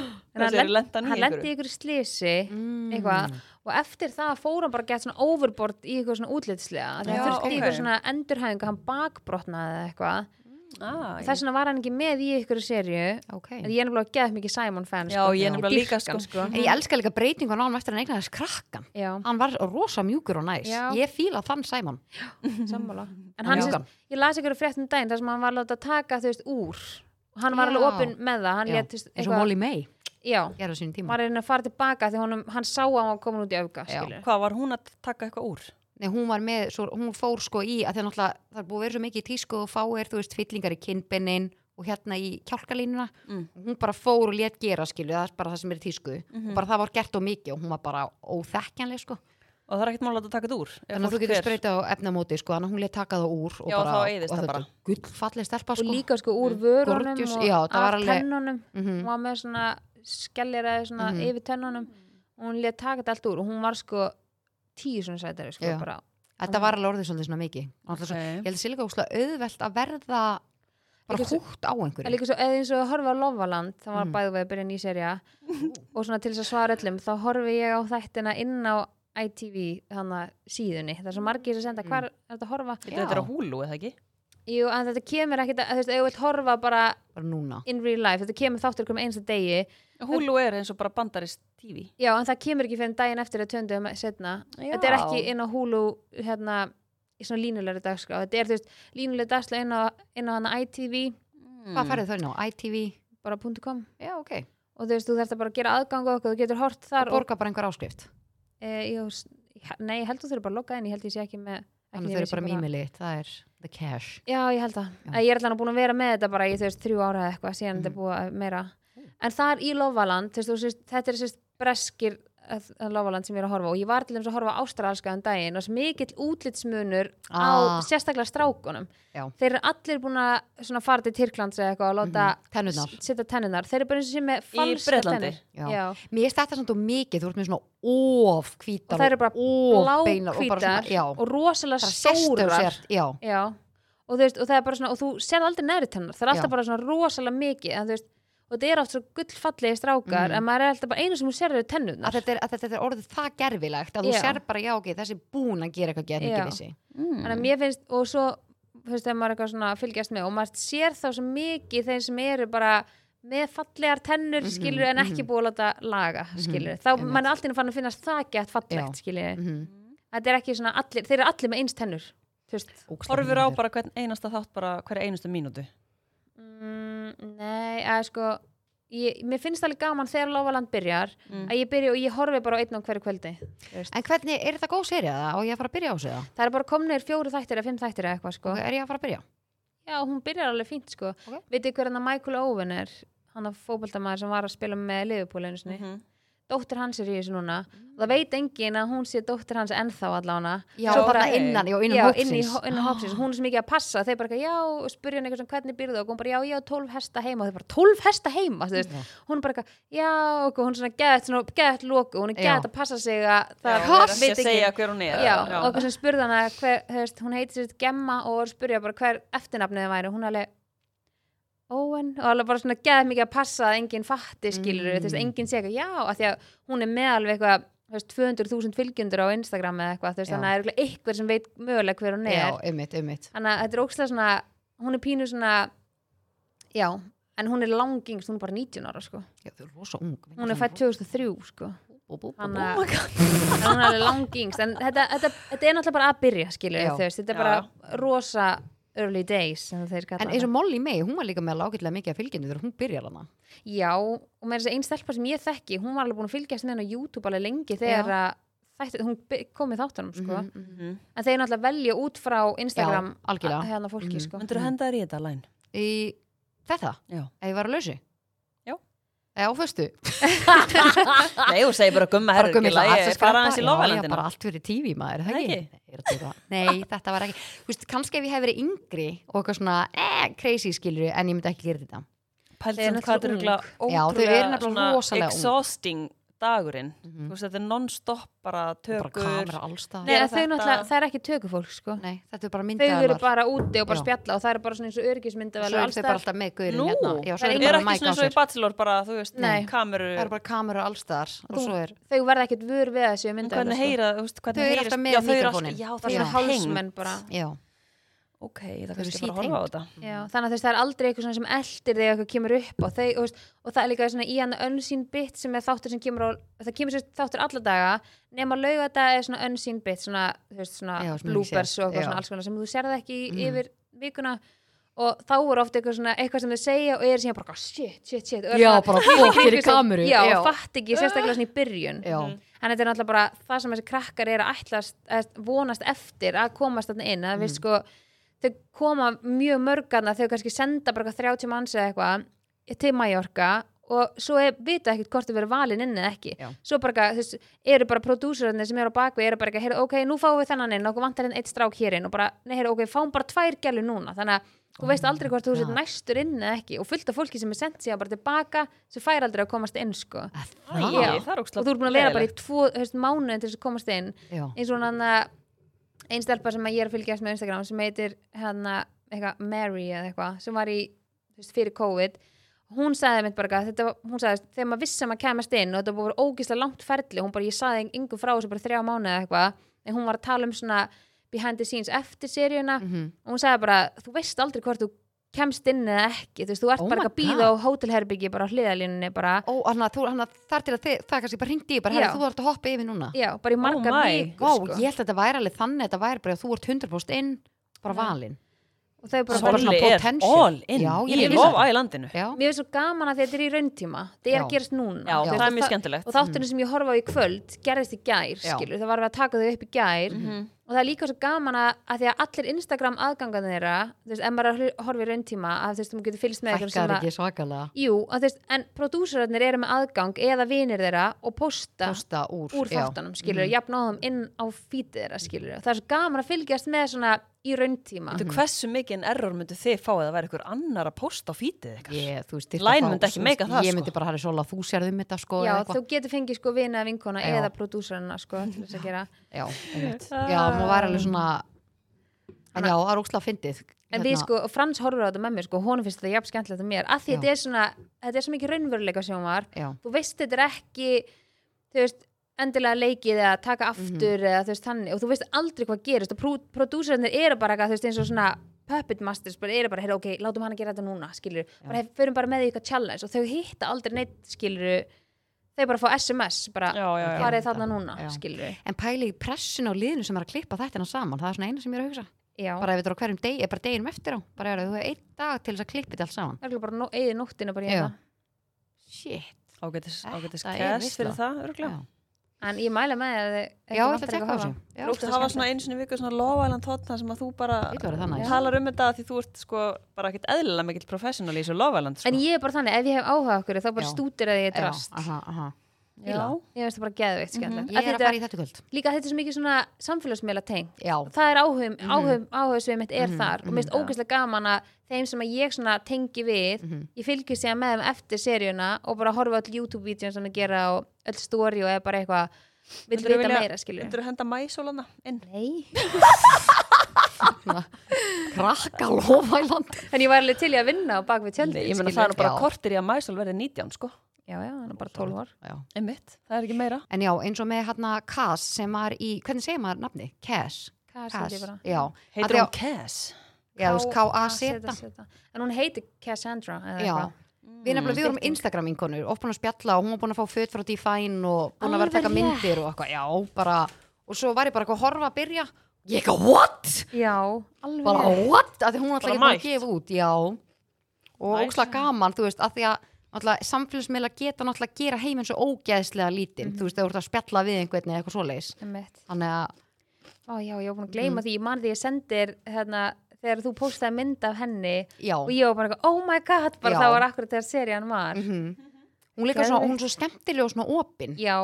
C: En hann
B: þessi eru
C: lent-
B: lenda
C: hann lendi í ykkur slisi
A: Mm.
C: eitthvað, og eftir það fór hann bara að geta svona overboard í eitthvað svona útlitslega
B: Já,
C: það þurfti okay.
B: ok.
C: eitthvað svona endurhæfingu hann bakbrotnaði eða eitthvað
B: Ah,
C: þess vegna var hann ekki með í ykkur serju
A: Ok.
C: en ég er nefnilega að geða mikið Simon fan
B: Já,
C: sko.
B: ég er nefnilega líka,
C: dýrka hann,
B: sko.
A: En ég elska líka breytingu á hann eftir að hann eignaðist krakkan.
C: Já,
A: Hann var rosa mjúkur og næs.
C: Já.
A: Ég fíla þann Sæmon.
C: sammála en hann,
A: Já.
C: sérst, ég las ykkur frétt um daginn þar sem hann var að láta taka þú veist úr og hann var
A: Já.
C: alveg opinn með það hann lét, þú veist,
A: Eins og Molly May.
C: já,
A: Gerða sínum tíma.
C: var einn að fara tilbaka því honum, hann sá að hann var komin út í öfga
A: Já.
C: skilurðu.
B: Hvað var hún að taka eitthvað úr?
A: Nei, hún var með, svo, hún fór sko í að því að náttúrulega það er búið að vera svo mikið í tísku og fáir, þú veist, fyllingar í kinnbennin og hérna í kjálkalínuna
B: Mm.
A: hún bara fór og let gera, skilju, það er bara það sem er í tísku
B: Mm.
A: og bara það var gert og mikið og hún var bara óþekkjanleg, sko
B: Og það er ekkert mál að taka þetta úr. ef
A: þannig að þú
B: fólk
A: getur
B: fer.
A: spreytað á efnamóti, sko þannig að hún let taka það úr og
B: Já,
A: bara,
B: þá eyðist
A: og
B: það
A: þetta
B: bara.
A: gullfalleg stelpa, sko
C: og líka sko úr vörunum
A: Gorgeous,
C: og
A: já, það var
C: af
A: alveg-
C: tennunum
A: Mm. Mhm.
C: hún var með svona skelliræði svona yfir tennunum og hún létt taka þetta allt úr og hún var sko tíu svona sætari sko
A: Já.
C: bara
A: þetta var alveg orðið svolítið svona mikið okay. svo,
B: Ókei.
A: ég held að sé líka óslega auðvelt að verða bara
C: Líka svo-
A: hútt á
C: en
A: einhverju
C: líka svo eða eins og að horfa á Lofaland það var mm. bæðu við að byrja ný serja og svona til þess að svara öllum þá horfi ég á þættina inn á ITV þannig síðunni það er svo margir sem senda hvar er þetta að horfa
A: Mm. Já.
B: Þetta er á húlu, eða ekki?
C: Jú, en þetta kemur ekkit að þú veist, ef þú vilt horfa bara
A: bara núna
C: in real life þetta kemur þáttur hverjum einsta degi
B: Húlu er eins og bara bandarist TV.
C: Já, en það kemur ekki fyrir en daginn eftir að töndu setna.
B: Já.
C: Þetta er ekki inn á húlu hérna, í svona línulegri dagskrá. Þetta er þú veist, línulegri dagskrá inn á, inn á hana ITV,
B: Mm.
A: hvað færðu þau nú? ITV?
C: bara .com
A: Já, ok,
C: og þú veist, þú þarft að bara gera aðgang og okkur, þú getur hort
A: og
C: þar og,
A: borga bara einhver áskrift
C: e, jú, s- nei, ég held þú þurfir bara að logga inn, ég held ég sé ekki með
A: Þannig þau eru bara mýmili, það er the cash.
C: Já, ég held það.
A: Já. Mhm.
C: Já. Ég er allan að búin að vera með þetta bara í þú veist þrjú ára eða eitthvað, síðan þetta er búið að meira. En þar í Lofaland, þú veist, þú sést, þetta er sérst breskir að- að Lofaland sem ég er að horfa á og ég var til þess að horfa á ástralska um daginn og svo mikill útlitsmunur á
A: Ah.
C: sérstaklega strákunum.
A: Já.
C: Þeir eru allir búin að svona fara til Tyrklands eða eitthvað og láta
A: Mhm. Tennurnar.
C: s- setja tennunar. Þeir eru bara eins og sé með falska
B: Bretlandi.
C: tennur.
A: Já.
C: Já.
A: Mér er þetta samt og mikið, þú ert með svona of
C: Og
A: hvítar
C: það eru bara
A: of beinar og bara
C: blákvítar
A: svona, já,
C: og rosalega
A: bara sést þau
C: stórar.
A: sér, já,
C: Já, og þú veist, og það er bara svona og þú sér aldrei neðri tennar, það er
A: Já.
C: alltaf bara svona rosalega mikið, en þú veist og þetta er oft svo gullfallegi
A: Mhm.
C: strákar en maður er alltaf bara einu sem hún sér eru tennurnar
A: að þetta, er, að þetta er orðið það gerfilegt að þú
C: Já.
A: sér bara, já, ok, þessi er búin að gera eitthvað gerð
C: Já.
A: mikið vissi.
C: þannig að mér finnst, og svo þú veist, þegar maður er eitthvað svona að fylgjast með og maður sér þá svo mikið þeir sem eru bara með fallegar tennur
A: Mhm,
C: skilur en ekki
A: mhm.
C: búið að láta laga skilur þá
A: einmitt.
C: mann er alltaf fann að finnast það gett fallegt skilur
A: Mhm.
C: þetta er ekki svona allir, þeir eru allir með eins tennur þú veist
A: Ógeðslega
B: Horfur á
A: fyndið.
B: bara hvern einasta þátt bara hverja einustu mínútu.
C: mm, nei, að sko ég, mér finnst alveg gaman þegar Lofaland byrjar
B: Mm.
C: að ég byrja og ég horfi bara á einn á hverju kvöldi þú veist.
A: En hvernig, er þetta góð serið eða á ég að fara að byrja á þessu eða?
C: það er bara komnir fjóru þættir eða fimm þættir eða eitthvað sko
A: Er ég að fara að byrja?
C: Já, hún byrjar alveg fínt sko
A: Ok.
C: okay. Vitið hver hann að Michael Owen er hann að fótboltamaður sem var að spila með Liverpool einu sinni,
B: Mhm.
C: dóttir hans er í þessu núna og það veit enginn að hún sé dóttir hans ennþá allána
A: Já,
B: Svo
A: þarna
B: bara-
A: innan, já, innan
C: já,
A: hópsins.
C: inn í, ho- inn í hópsins, hún er sem ekki að passa þeir bara ekki, já, og spurja hann eitthvað sem hvernig byrðu og hún bara, já, ég á 12 hesta heima og þeir bara, 12 hesta heima, þú veist,
A: Já.
C: hún er bara eitthvað já, og hún er svona gett, svona gett loku hún er
A: Já.
C: gett að passa sig að
B: Það
C: það
B: er
A: Koss!
B: ekki að segja hver hún er.
C: já, og okkur sem spurði hana hver, hefst, hún heiti sér Gemma og voru að spurja bara hver eftirnafnið væri, hún alveg Owen, og alveg bara svona geð mikið að passa að enginn fatti skilur
A: Mm.
C: mm. enginn sé eitthvað, já, af því að hún er með alveg eitthvað þú veist, 200.000 fylgjendur á Instagram eða eitthvað, þú veist,
A: Já.
C: þannig að það er örugglega eitthvað sem veit mögulega hver hún er,
A: Já, einmitt, einmitt.
C: þannig að þetta er ókslega svona hún er pínu svona já, en hún er langingst, hún er bara 19 ára sko,
A: Já, þau eru rosa ung.
C: hún er fætt 2003 sko
B: Oh
A: Þannig
C: Þannig að hún er alveg langingst en þetta, þetta, þetta er náttúrulega bara að byrja skilur
A: Já.
C: þú veist, þetta er
B: Já.
C: bara rosa early days sem þeir kalla
A: En eins og
C: það.
A: Molly May, hún var líka með lágitlega mikið að fylgjendu þegar hún byrjar hana.
C: Já, og með þess að einn stelpa sem ég þekki hún var alveg búin að fylgjast með henn á YouTube alveg lengi þegar að þætti, hún by- kom í þáttunum sko.
A: Mhm.
B: Mhm.
C: en þeir náttúrulega velja út frá Instagram
A: Já, algjörlega.
C: að- hérna fólki
A: Mhm.
C: sko.
B: Myndirðu henda þér í þetta læn?
A: Í þetta,
B: Já.
A: ef ég var að lausi.
B: Já.
A: Eða á föstu.
B: Nei, þú segir bara gumma herru.
A: gömul
B: ekki
A: og
B: lagi,
A: allt að
B: fara
A: skrapa.
B: aðeins í
A: Já, já,
B: lofalandina.
A: bara allt fyrir tífi maður, er það
B: Nei,
A: ekki?
B: ekki.
A: Nei, er að djóka. Nei, þetta var ekki. Þú veist, kannski ef ég hef verið yngri og eitthvað svona, eh, crazy skilur en ég myndi ekki gera þetta.
B: Pældi
C: Þau eru
B: samt hvað þetta er
C: náttúrulega
B: örugglega
A: Já, þau eru
B: ótrúlega
A: nefnilega
B: svona
A: rosalega ung.
B: Exhausting dagurinn.
A: Mhm.
B: Þú veist, þetta er non-stop bara
A: Bara
B: tökur.
A: kamera alls
C: Nei,
A: það.
B: Gera
C: að þau
B: þetta-
C: náttúrulega, það er ekki tökufólk sko.
A: Nei, þetta er bara
C: þau eru
A: myndaðalar.
C: bara úti og bara
A: Já.
C: spjalla og það eru bara svona eins og örgismynda
A: Svo eru þau bara alltaf með guðurinn
B: Nú,
A: hérna. Já, svo
C: það
A: eru
C: er
B: Er
A: bara
B: ekki
A: mæk
B: svona
A: á
B: svo í
A: sér.
B: Bachelor bara, þú veist, um
C: Nei.
B: kameru.
A: Það eru bara kamera alls þar og
C: Þú-
A: svo er
C: þau verða ekkert vör við þessu
B: En
C: mynda
B: Um Hvernig heyra, þú veist, hvernig
A: Þau eru
B: heyrist-
A: alltaf með
B: Já, þau eru
A: míkrófóninn.
B: alltaf-
A: Það
B: Já,
A: er
B: það er
C: svona
B: svona hengt.
C: hálsmenn bara
A: Já,
B: Ok, það
A: eru
B: kannski bara að horfa á
A: síþyngd.
B: þetta.
C: Já, þannig að þú veist, það er aldrei eitthvað svona sem eldir þig eitthvað kemur upp og, þau, og, veist, og það er líka svona í hann önsýn bit sem er þáttur sem kemur á, það kemur sér þáttur alla daga nema lauga þetta er svona önsýn bit svona, þú veist, svona
A: Já, sem þú
C: bloopers
A: sér,
C: og eitthvað
A: já.
C: svona alls konar sem þú serð ekki
A: Mhm.
C: mm. yfir vikuna og þá er ofta eitthvað svona eitthvað sem þau segja og er síðan bara eitthvað, shit, shit, shit og er
A: Já,
C: svona-
A: bara
C: Klikka,
A: fokk fyrir
C: klikka, svo-
A: kameru,
C: Já, Mm.
A: já.
C: og fatt ekki, sérstaklega svona í byrjun
A: já.
C: en þetta er náttúrulega bara það sem þessi krakkar er að ætlast, að vonast eftir að komast þarna inn, að við sko þau koma mjög mörgarna þau kannski senda bara eitthvað 30 manns eða eitthvað til Mallorca og svo er, vita ekkert hvort þau verið valin inn eða ekki
A: Já.
C: svo bara eitthvað, þú veist, eru bara prodúserinni sem eru á bakvið, eru bara eitthvað, heyrðu, ok, nú fáum við þennan inn okkur vantar enn eitt strák hér inn og bara, nei, heyrðu, ok, fáum bara tvær gælu núna, þannig að þú veist aldrei hvort þú
A: God.
C: sett næstur inn eða ekki og fullt af fólki sem er sendt síðan bara tilbaka sem fær aldrei að komast inn, sko
A: Að
B: Æ,
A: það-
C: Já.
B: það er ógstlega
C: og þú ert búin að vera bara í tvo hefst, mánuð til þess að komast inn
A: Já.
C: eins og hann að einn stelpa sem að ég er að fylgjast með á Instagram sem heitir hana, eitthvað, Mary eða eitthvað sem var í þú veist, fyrir COVID hún sagði mitt bara eitthvað, þetta, var- hún sagði þegar maður vissi að maður kemast inn og þetta var ógislega langt ferli hún bara ég sagði yngur frá þessu bara þrjá mánuð eða eitthvað en hún var að tala um svona behind the scenes eftir seríuna
A: Mhm.
C: og hún sagði bara, þú veist aldrei hvort þú kemst inn eða ekki, þú veist, þú ert
A: Oh
C: bara
A: my Oh
C: eitthvað að býða á hótelherbyggi bara á hliðalínunni bara
A: Ó, hann að þú, hann að þar til að þið, það kannski bara hringdi í bara,
C: Já.
A: herri, þú ert að hoppa yfir núna.
C: Já, bara í margar
B: my.
C: vikur
A: Vá,
C: sko.
A: ég held að þetta væri alveg þannig, þetta væri bara að þú ert 100% inn, bara valinn.
C: og þau bara
A: Sorry. svona
B: Solli er
A: potential.
B: all in
A: Já, ég
B: í
A: vissi
B: lof
A: það.
B: að í landinu.
A: Já,
C: mér finnst svo gaman að því að þetta er í rauntíma þetta er
A: Já.
C: að gerast núna
B: Já,
C: Þú
B: það
C: veist,
B: er mjög
C: og
B: skemmtilegt.
C: og þátturinn sem ég horfa á í kvöld gerðist í gær,
A: Já. Mhm.
C: skilur, það var við að taka þau upp í gær
B: Mhm.
C: og það er líka svo gaman að, að því að allir Instagram aðgangan þeirra þú veist, ef maður er að hlu- horfa í rauntíma að þú veist, þú getur fylgst með einhverjum
A: þakkar
C: sem að
A: ekki svakalega.
C: Jú, að, þú veist, en prodúsörarnir eru með aðgang eða vinir þeirra og posta
A: Kosta úr.
C: úr
A: já. Mhm.
C: þáttunum, skilur, mm. jafnáðum inn á fítið þeirra, skilur, það er svo gaman að fylgjast með svona í rauntíma
B: Þú, hversu mikið error myndu þið fá að það væri ykkur annar að posta á fítið ykkar?
A: Ég, þú veist, þyrfti að
B: Line
A: fá-
B: myndi ekki
A: þú
B: meika
A: veist,
B: það,
A: Ég
B: sko.
A: myndi bara, herri, Sola, þú sérð um þetta, sko,
C: Já,
A: eða eitthvað.
C: þú getur fengið sko vina, vinkona
A: Já.
C: eða prodúsarina sko til þess að gera
A: Já, einmitt. Já, maður væri alveg svona, en já, það er ókslega fyndið.
C: En við sko, og Frans horfur á þetta með mér sko, honum finnst þetta jafn skemmtilegt að mér, að því
A: Hérna. Já.
C: þetta er svona, þetta er svo mikið raunveruleika sjómar,
A: Já,
C: þú veist þetta er ekki, þú veist, endilega leikið eða
A: Mhm.
C: taka aftur eða þú veist þannig, og þú veist aldrei hvað gerist og prú- prodúsararnir eru bara eitthvað, þú veist, eins og svona puppet masters bara eru bara, heyr, ok, látum hana gera þetta núna skilur, bara hef, förum bara með því eitthvað challenge og þau hitta aldrei neitt skilur þau bara fá SMS bara,
B: Já, já, já.
C: farið þarna núna
A: Já.
C: skilur,
A: En pæli í pressun á liðinu sem er að klippa þetta saman, það er svona eina sem ég er að hugsa.
C: já
A: Bara ef þetta er á hverjum degi, bara deginum eftir á, bara ef þú hefur einn dag til þess að klippa þetta allt saman.
C: Örgulega bara no, eigið nóttina bara
A: Já.
C: hérna.
A: Shit.
B: ágætis,
A: Þetta
B: ágætis
A: er
B: kæs
A: veisla.
B: fyrir það örgulega.
C: En ég mæla með þér ef þið
A: Já, ég ætla að tekka á þessu. Já,
B: Þú ætti að hafa svona einu sinni í viku svona lofaðilan tótt þar sem að þú bara
A: Ég ætla að vera það næst.
B: talar um þetta af því þú ert sko bara ekkert eðlilega mikill professional í þessu lofaðilan sko.
C: En ég er bara þannig, ef ég hef áhuga á okkur þá bara
A: Já.
C: stútir að ég
A: Já,
C: drast
A: aha, aha.
B: Já,
C: Ég veist það bara geðveikt skemmtilegt
A: Ég
C: mm
A: er að fara í þetta í kvöld.
C: Líka þetta er svo mikið svona samfélagsmiðla teng
A: Já.
C: Það er áhugum,
A: Mhm.
C: áhugum, áhugum sem mitt er þar og mér finnst
B: já.
C: ógeðslega gaman að þeim sem að ég svona tengi við
A: Mhm.
C: ég fylgir sér með þeim eftir seríuna og bara horfa á öll YouTube-vídeon sem þau gera og öll story og er bara eitthvað vill
B: Myndirðu
C: vita
B: vilja-
C: meira skilur
B: myndirðu henda mæsólana inn?
C: Nei
A: Krakka lofæland.
C: En ég var alveg til í að vinna á bak við tjöldi
B: Nei, ég meina það er nú bara
A: Já.
B: kortir í að mæsól verði 19 sko.
C: Já, já, hann er bara 12 ár
A: Já.
B: Einmitt, það er ekki meira.
A: En já, eins og með hérna Cass sem var í, hvernig segir maður nafni? Cass.
C: Cass, held ég
A: Cass.
C: bara.
A: Já. Af
B: Heitir
A: því að-
B: hún Cass?
A: Já, þú veist, K-A-Z.
C: K-A-Z En hún heiti Cassandra eða
A: Já.
C: eitthvað.
A: Við nefnilega, við vorum
C: Stytting.
A: Instagram vinkonur og búin að spjalla og hún var búin að fá föt frá Define og búin að vera að
C: Alveg
A: taka myndir og eitthvað, já, bara og svo var ég bara eitthvað að horfa að byrja ég eitthvað, what?
C: Já, alveg
A: Bara,
C: rétt.
A: what? Af því hún alltaf
B: Bara
A: ekki búin að
B: mætt.
A: gefa út, já og
B: Nice.
A: ókslega gaman, þú veist, af því að náttúrulega, samfélagsmiðla geta náttúrulega að gera heiminn svo ógeðslega lítinn, þú veist, þau voru að spjalla við einhvern veginn eða eitthvað svoleiðis
C: Einmitt.
A: þannig að,
C: Ó já, ég var búin
A: Mm-hmm.
C: að gleyma því, ég man því ég sendir hérna, þegar þú postaði mynd af henni
A: já,
C: og ég var bara eitthvað, oh my god bara
A: Já. Mm-hmm.
C: það var akkurat þegar serían var
A: hún líka svona,
C: Geðveikt.
A: hún er svo skemmtileg og svona opin,
C: Já,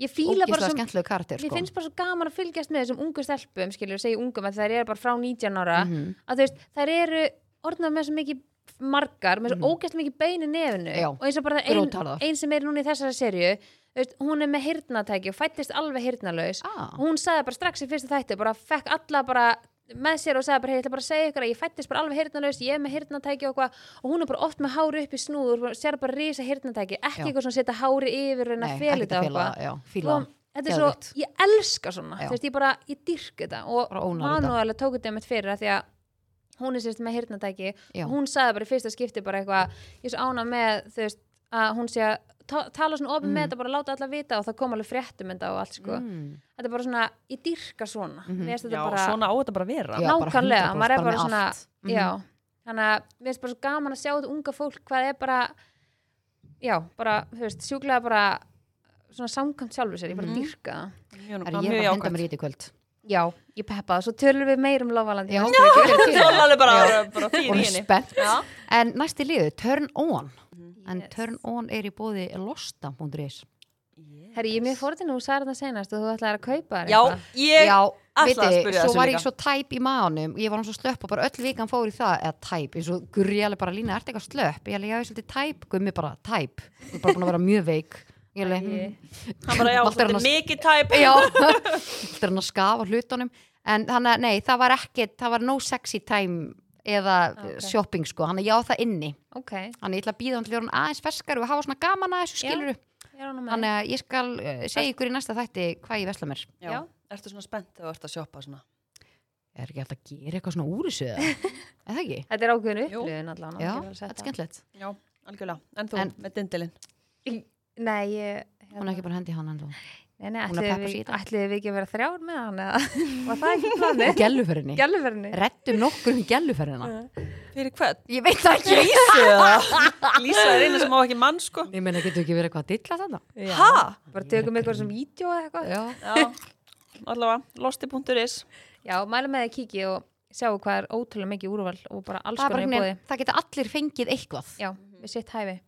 C: ég fíla bara
A: ógeðslega
C: svo
A: skemmtilegu karakter
C: Mér
A: sko.
C: finnst bara svo gaman að fylgjast með þessum ungu stelpum, skilur, segja ungum að þær eru bara frá 19 ára,
A: Mhm.
C: að þú veist, þær eru orðnað með svo mikið margar, með svo mm mikið bein í nefnu
A: Mhm. Já,
C: og eins og bara
A: grjótharðar.
C: ein, ein sem er núna í þessari serju, þú veist, hún er með hirtnatæki og fættist alveg hirtnalaus
A: Ah.
C: hún sagði bara strax í fyrsta þætti, bara fekk alla bara með sér og sagði bara, hey, ég ætla bara að segja ykkur að ég fættist bara alveg hirtnalaus, ég er með hirtnatæki og eitthvað og hún er bara oft með hári upp í snúður og sér bara risa hirtnatæki, ekki
A: Já.
C: eitthvað svona setja hári yfir og reyna
A: Nei,
C: að fela
A: ekkert
C: þetta
A: að
C: og
A: fela
C: eitthvað
A: það, já, fíla
C: og
A: það.
C: Sko, þetta er svo,
A: Geðveikt.
C: ég elska svona
A: Já.
C: þú veist, ég bara, ég dyrk þetta og
A: Bara ónar þetta.
C: manuðalega tók þetta mitt fyrir að því að hún er sérst með hirtnatæki
A: Já.
C: hún sagði bara í fyrsta skipti bara eitthvað ég er svo ána með, þú veist, að hún sé að ta- tala svona ofin með þetta, bara láta alla vita og það kom alveg fréttum þetta og allt sko
A: Mm. Mhm.
C: þetta er bara svona, ég dyrka svona mm -hmm.
B: Já,
C: þetta bara,
B: svona á þetta bara að vera.
A: Já, bara
C: nákvæmlega,
A: 100%
C: maður er
A: bara
C: bara
A: með
C: svona
A: allt. Mhm.
C: já, þannig að mér finnst bara svo gaman að sjá þetta unga fólk hvað er bara já, bara, þú veist, sjúklega bara svona samkvæmt sjálfu sér,
A: Mhm.
C: ég bara dyrka
B: Mjög,
C: það
A: Er ég að
B: mjög
A: fara að henda
B: jákvæmt.
A: mér í þetta í kvöld?
C: Já, ég peppa það, svo tölum við meir um Lovaland í
A: Já,
C: næstu
A: já,
C: viku.
A: já,
B: Það er alveg bara, bara fín í
A: Hún er
B: henni.
A: spennt.
B: Já.
A: En næsti liðu, Turn On. En
C: Yes.
A: Turn On er í bóði losta.is.
C: Herri, ég er mjög fórðin og þú sagði það senast og þú ætlaði að kaupa þér
B: Já,
C: eitthvað.
B: ég ætlaði
A: veitir,
B: að spyrja
A: svo
B: þessu
A: var
B: líka.
A: ég svo tæp í maðanum og ég var hann svo slöpp og bara öll vikan fór í það, eða tæp, eins og gurri alveg bara lína, ertu eitthvað slöpp? Ég alveg, já, ég er svolítið tæp, gummi bara tæp. Þú er bara búin að vera mjög veik. Ég alveg,
C: Æi.
A: hm,
B: Hann bara, já,
A: Allt er
B: þetta
A: annars-
B: er mikið tæp.
A: já, þetta er hann að skafa hlutunum. En þannig að, nei, það var ekkit, það var no sexy time eða
B: Ah,
C: Ok.
A: shopping, sko, hann að já það inni.
C: Ok, ég
A: Þannig að ég ætla að býða hann til að vera hann aðeins ferskar og hafa svona gaman að þessu
C: Já.
A: skiluru.
C: er ánum með.
A: Þannig að ég skal uh, segja ykkur í næsta þætti hvað ég vesla mér.
C: Já.
B: Ertu svona spennt þegar þú ert að sjoppa svona?
A: Er ekki alltaf að gera eitthvað svona úr þessu eða? Er það ekki?
C: Þetta er ákveðin
B: Jú.
C: upplöðin allan.
A: Já, þetta er skemmtilegt.
B: Já, algjörlega. En þú,
A: En-
B: með dindilinn.
C: skemmt. Nei, ég...
A: Hún er ekki bara hendi hann ennþá.
C: Nei, nei,
A: Hún er að peppa
C: ætluðum
A: sig í
C: við,
A: dag.
C: ætluðu við ekki að vera þrjár með hann eða? Var það ekki planið?
A: Gelluferinni.
C: Gjálfurni.
A: Rettum nokkur um gelluferinna.
B: Fyrir hvern?
A: Ég veit það ekki.
B: Lísu eða? Lísa er eina sem á ekki mann, sko.
A: Ég meina, getur ekki verið eitthvað að dilla þannig?
B: Hæ?
C: Bara tökum ykkur sem vídeo eða eitthvað.
A: Já.
B: Já, allavega, losti.is.
C: Já, mæla með þið kíki og sjáu hvað er ótrúlega mikið úrval og bara Mhm.
A: Það,
C: alls
A: er bara einhvern
C: konar í bóði.
A: veginn- það geta allir fengið eitthvað.
C: Já, við sitt hæfi.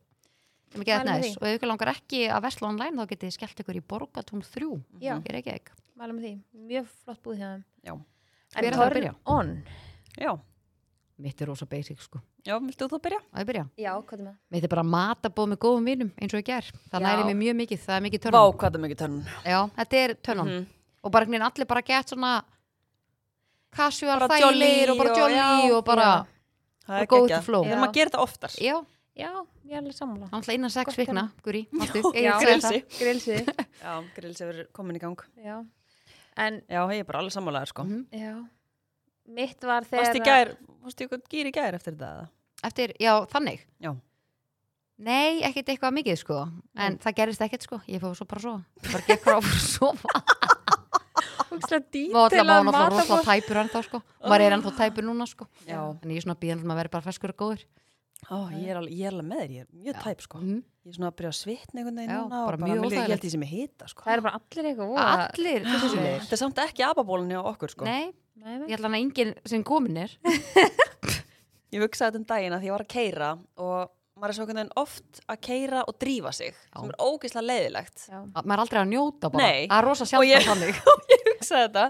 A: sem er geðveikt
C: Mælum með
A: næs.
C: því.
A: Og ef ykkur langar ekki að vesla online þá getið þið skellt ykkur í Borgatún 3.
C: Já.
A: Ég er ekki ekki.
C: Mæla með því. Mjög flott búið hjá þeim.
B: Já.
A: Hver
C: En
A: ætlar að
C: Torn
A: byrja?
C: On.
B: Já,
A: Mitt er rosa basic sko.
B: já, viltu þú byrja?
A: Á ég að byrja.
C: Já, hvað er með?
A: Mitt er bara matabóð með góðum vinum eins og ég ger. Það
C: Já.
A: næri mig mjög mikið. Það er mikið
B: Vá,
A: törnum.
B: hvað það er mikið törnun.
A: Já, þetta er törnum.
B: Mhm.
A: og bara einhvern veginn allir bara gett svona casual
B: Bara
A: þægilegir
B: jolly
A: og bara
B: og-
A: jolly
B: já,
A: og bara
C: já.
B: Það
A: Og
B: er
A: go with
B: geggjað.
A: the flow.
B: Við þurfum að gera þetta oftar.
A: já,
C: Já, ég er alveg sammála.
A: hann ætla innan sex
C: Gott
A: vikna Guri, máttu,
C: Já,
B: grillsi.
C: Grilsi.
B: Já, grills hefur komin í gang.
C: já. En,
B: Já, ég er bara alveg sammálaður, sko.
A: Mhm.
C: já. mitt var
B: Varst í
C: þegar
B: gær, varst í eitthvað gýr í gær eftir þetta? eða?
A: Eftir, já, þannig
B: Já.
A: Nei, ekkert eitthvað mikið sko En það gerist ekkert sko, ég fór svo bara svo Bara gekk frá að sofa
C: að
A: Og alltaf
C: dítila
A: maður alltaf rosalega tæpur ennþá sko Maður er ennþá tæpur núna sko
B: Já.
A: En ég er svona að býða hann að vera bara ferskur og góður
B: Ó, ég, er alveg, ég er alveg með þér, ég er mjög tæp sko.
A: Mhm.
B: Ég er svona að byrja að svitna einhvern veginn
A: Já,
B: núna og
A: bara mjög
B: mér líður-
A: óþægilegt.
B: Ég held ég sem ég hita sko.
C: það eru bara allir eitthvað voða-
A: Allir, þessu sinni
B: Þetta er samt ekki ababólinni á okkur sko.
A: Nei,
C: Nei, nei.
A: ég ætla hann að enginn sem komin er
B: Ég hugsaði þetta um daginn að því ég var að keira og maður er svo einhvern veginn oft að keira og drífa sig sem er ógeðslega leiðilegt.
C: Já.
A: að maður er aldrei að njóta bara
B: Nei.
A: að rosa
B: Og
A: sjálf
B: ég-
A: ég... þannig
B: hugsaði þetta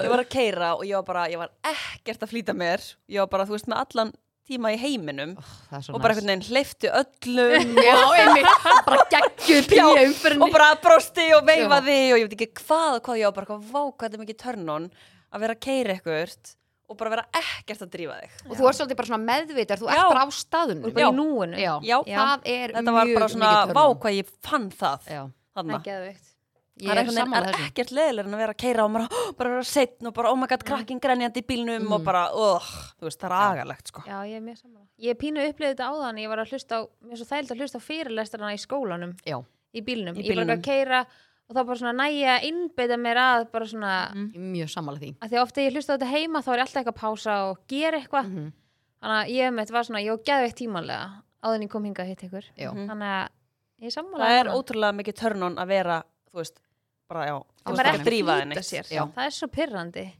B: ég var að keira og ég var bara, ég var ekkert að flýta mér ég var bara, þú veist, með allan tíma í heiminum
A: það er svo
B: og bara
A: næs.
B: einhvern veginn hleyfti öllum
A: já, einmitt, bara geggjur píja
B: og
A: umfyrinni
B: bara brosti og veifaði og ég veit ekki hvað, og hvað ég var bara, hvað, vá, hvað þetta er mikið törn on að vera að keira eitthvað og bara vera ekkert að drífa þig
A: og þú ert svolítið bara svona meðvitar, þú ert
B: Já.
A: bara á
C: Þú
A: staðunum
C: ert bara
B: Já.
C: í núinu
A: já.
B: Já.
A: það er
B: þetta var
A: mjög
B: bara svona,
A: mikið
B: vá,
A: törnum.
B: hvað ég fann það
A: Já.
B: þarna
C: ekki aðveikt
A: ég
B: það er,
A: er
B: einhvern
A: sammála
B: veginn- er
A: þessu
B: ekkert leðilegur en að vera að keira og bara, "Hó, bara vera setn og bara, oh my
A: Mm.
B: god, krakkin grenjandi í bílnum og bara, oh, þú veist, það er agalegt sko.
C: Já, ég er mjög saman Ég pínu upplifði þetta áðan Ég var að hlusta á, mér er svo þægild að hlusta á fyrirlestrana í skólanum
A: já,
C: Í bílnum,
B: Í
C: ég bara
B: bílnum.
C: að keira Og þá bara svona næja að innbytta mér að Bara svona,
A: Mm. Ég er mjög sammála því
C: að því að ofta ég hlusta á þetta heima Þá er ég alltaf eitthvað að pása og
B: Ah.
C: gera
B: Mm.
C: eitthvað
A: Mhm.
C: Þannig að ég mitt var svona, ég var geðveikt tímanlega Áður en ég kom hingað að hitta ykkur
A: Já.
B: Mhm.
C: Þannig að ég er sammála
B: það er
C: þarna.
B: ótrúlega mikið törnun að vera þú veist, bara já þú
A: Að
B: veist
A: maður
B: bara
A: ekki
B: að drífa
C: flýta
B: þig neitt.
C: sér.
A: Já.
C: það er svo pyrrandi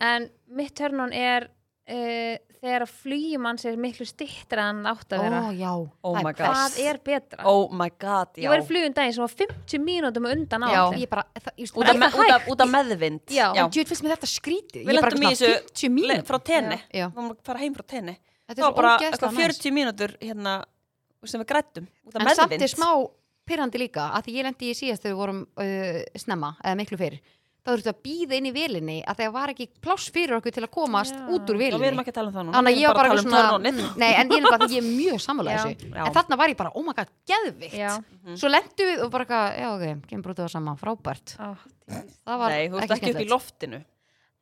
C: en mitt törnun er uh, þegar að flýjum hans er miklu stittra en átt
A: ó,
C: að vera
A: já,
B: Oh
A: það er
B: my god.
A: best
C: hvað er betra?
B: oh my god, já
C: ég var í flugum daginn sem var 50 mínútum undan
A: já,
C: átt
A: ég bara, það, ég
B: út af,
A: það
B: me- út af, út af meðvind
C: Já.
A: En djöfull finnst mér þetta skrítið
B: Við
A: Ég er bara
B: lentum í
A: svona
B: þessu
A: 50
B: Le,
A: mínútur
B: frá tenni,
A: Já.
B: við vorum að fara heim frá tenni
A: Þetta
B: það
A: er
B: var bara
A: svo
B: eitthvað
A: ógeðslega næs
B: 40 mínútur hérna, sem við grættum út af
A: En samt
B: meðvind
A: er smá pyrrandi líka að því ég lendi í síðast þegar við vorum uh, snemma eða miklu fyrr þá þurftu að býða inn í velinni að það var ekki pláss fyrir okkur til að komast
C: Já.
A: út úr
B: og við erum
A: velinni
B: ekki að tala um það núna
A: Þannig að
B: við
A: ég var
B: erum
A: bara
B: að
A: eitthvað
B: tala um
A: svona
B: törnunni
A: mm, Nei, en ég er bara, ég er mjög sammála
C: Já.
A: þessu
B: Já.
A: En þarna var ég bara, oh my god, geðvikt
C: Já.
A: Svo lendu við og bara, eitthvað, já ok, kemur brútið það sama, frábært
C: Ó, dís.
A: Það var
B: nei, þú veist ekki upp í
A: skemmtilegt.
B: loftinu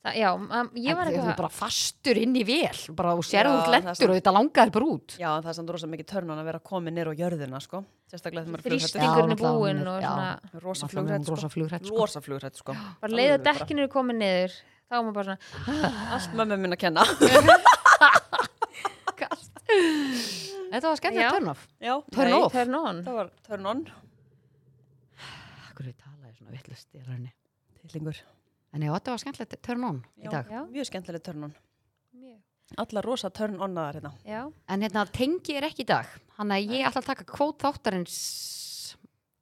C: það, já, um, ég var
A: En Þú er
C: eitthvað
A: bara fastur inn í vel bara og sérðu
B: Já,
A: út
B: það er
A: lendur
B: svona.
A: og þetta langar bara út
B: já, en það er samt rosa mikið törnun að vera komin nýr á jörðina sko. sérstaklega þegar maður er
A: Já,
C: þrýstingurinn er
A: náttúrulega, hún
C: búinn
A: er-
C: og
A: já.
B: flughrætt rosa
C: svona
A: Náttúrulega, hún er
B: flughrætt sko.
A: rosa flugrætt, sko.
B: rosa flugrætt sko.
C: bara leiða
B: Alveg bara.
C: dekkinu er komið niður þá er maður bara svona,
B: allt mömmu minn að kenna
A: Þetta var
C: Já.
A: skemmtilegt turn off
B: Já,
A: Turn
B: nei,
A: off.
C: turn on
B: Það var turn on
A: Akkur við talaði svona vittlust í rauninni
B: Tillingur
A: En já, þetta var skemmtilegt turn on í dag.
C: Já.
B: Mjög skemmtileg turn on
C: Mjög.
B: Alla rosa turn onaðar hérna
C: já,
A: En hérna, tengi er ekki í dag. Þannig að ég ætla að taka kvót þáttarins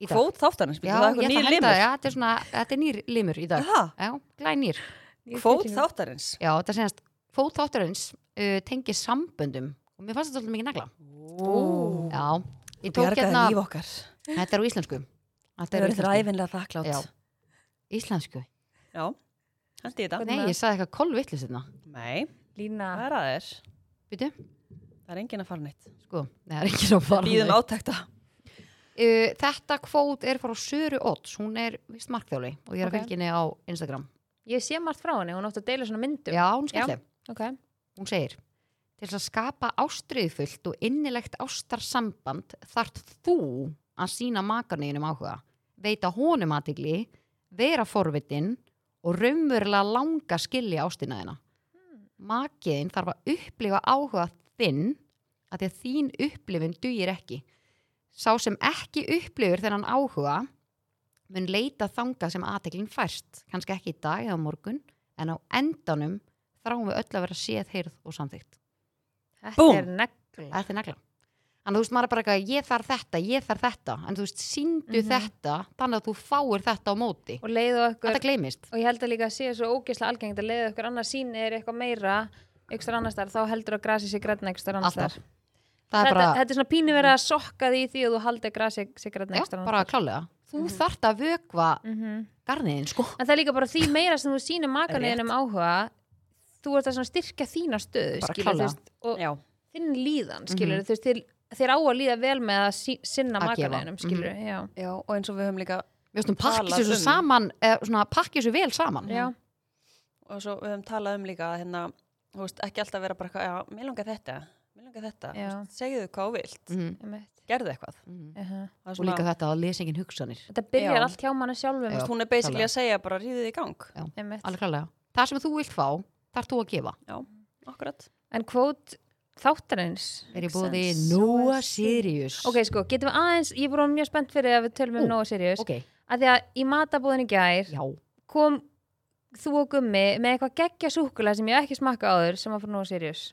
A: í dag.
B: Kvót þáttarins,
A: Já,
B: býttu það er
A: ég
B: eitthvað
A: ætla
B: nýr
A: að henda,
B: limur
A: já, þetta er svona, þetta er nýr limur í dag.
B: Það,
A: Já, glæn nýr.
B: kvót þáttarins
A: Já, þetta séðast, kvót þáttarins uh, tengi samböndum. Og mér fannst þetta svolítið mikið negla.
B: Ó,
A: Já, ég tók
B: bjargaði
A: hérna,
B: líf okkar
A: þetta er á íslensku. Þetta er á
B: Það eru þér
A: íslensku.
B: æfinlega þakklátt
A: Já. Íslensku?
B: Já. hendi í þetta
A: Nei, ég sagði eitthvað kolvittlust hérna.
B: Nei,
C: lína
B: það er aðeins
A: Býtu?
B: Það er enginn að fara neitt
A: Sko, nei, það er ekki
B: um
A: svo fara.
B: Býðum átækta
A: Uh, þetta kvót er frá Söru Odds, hún er vist markþjóli og ég er að
C: Ok.
A: fylgja henni á Instagram.
C: ég sé margt frá henni, hún átti að deila svona myndum
A: Já, hún skemmtileg.
C: okay.
A: Hún segir Til þess að skapa ástriðfullt og innilegt ástarsamband þarft þú að sína makaneginum áhuga veita honum aðtigli vera forvitin og raunverulega langa skilja ástina þina Makiðin þarf að upplifa áhuga þinn að því að þín upplifun dugir ekki Sá sem ekki upplifur þennan áhuga mun leita þangað sem aðteklinn fæst kannski ekki í dag eða á morgun en á endanum þráum við öll að vera séð, heyrð og samþygt.
C: þetta
B: Búmm.
C: er negla
A: Þetta er negla. Þannig að þú veist, maður er bara eitthvað, ég þarf þetta, ég þarf þetta, en þú veist, síndu
C: Mhm.
A: þetta, þannig að þú fáir þetta á móti.
C: og leiðu okkur
A: Þetta gleymist.
C: og ég held að líka að sé svo ógeðslega algengt að leiða okkur annars sín er eitthvað meira ykkur annars þar, þá heldur að grasi sér grætna ykkur annars þar
A: Alltaf.
C: þetta,
A: Það er bara,
C: þetta er svona pínu verið að sokka því því að þú haldi að grasi sér grætna ykkur
A: já,
C: annars
A: bara klálega. Þú þarft að vökva
C: Mhm.
A: garniðin, sko.
C: en það er líka bara því meira sem þú sýnir makaneginum áhuga þú ert að svona styrkja þína stöðu
A: Bara
C: skilur, þú
A: klárlega.
C: veist, og
B: Já,
C: þinn líðan skilur, þú veist, þér, þér á að líða vel með að sí, sinna
A: Að gefa. Mhm.
C: makaneginum skilur, já,
B: já, og eins og við höfum líka
A: Við veistum, pakkis
B: Talað
A: þessu
B: um.
A: Mhm. saman, eh, svona, pakkis þessu vel saman.
C: já,
B: og svo við höfum talað um líka að hérna, þú veist, ekki alltaf vera bara eitthvað, já, mér langar þetta, mér langar þetta,
C: Já.
B: Þú veist, segðu hvað þú vilt,
A: mm,
C: einmitt.
B: gerðu eitthvað.
A: mm.
C: Aha.
B: Það er
A: og líka þetta að lesa enginn hugsanir
C: Þetta byrjar
B: Já.
C: allt hjá manna sjálfum
A: Já.
C: já.
B: hún er basically
A: klálega.
B: að segja bara ríðið í gang,
A: alveg klálega, það sem þú vilt fá þarf þú að gefa,
B: akkurat.
C: En kvót þáttarins
A: er ég
B: Makes
A: búið í
B: sense.
A: Noah Sirius
C: Ok, sko, getum við aðeins, ég voru mjög spennt fyrir að við tölum um
A: Ú,
C: Nóa Sirius
A: Ok,
C: að því að í matabúðinu gær
A: já,
C: kom þú og Gummi með eitthvað geggja súkula sem ég hef ekki smakka áður sem var frá Nóa Sirius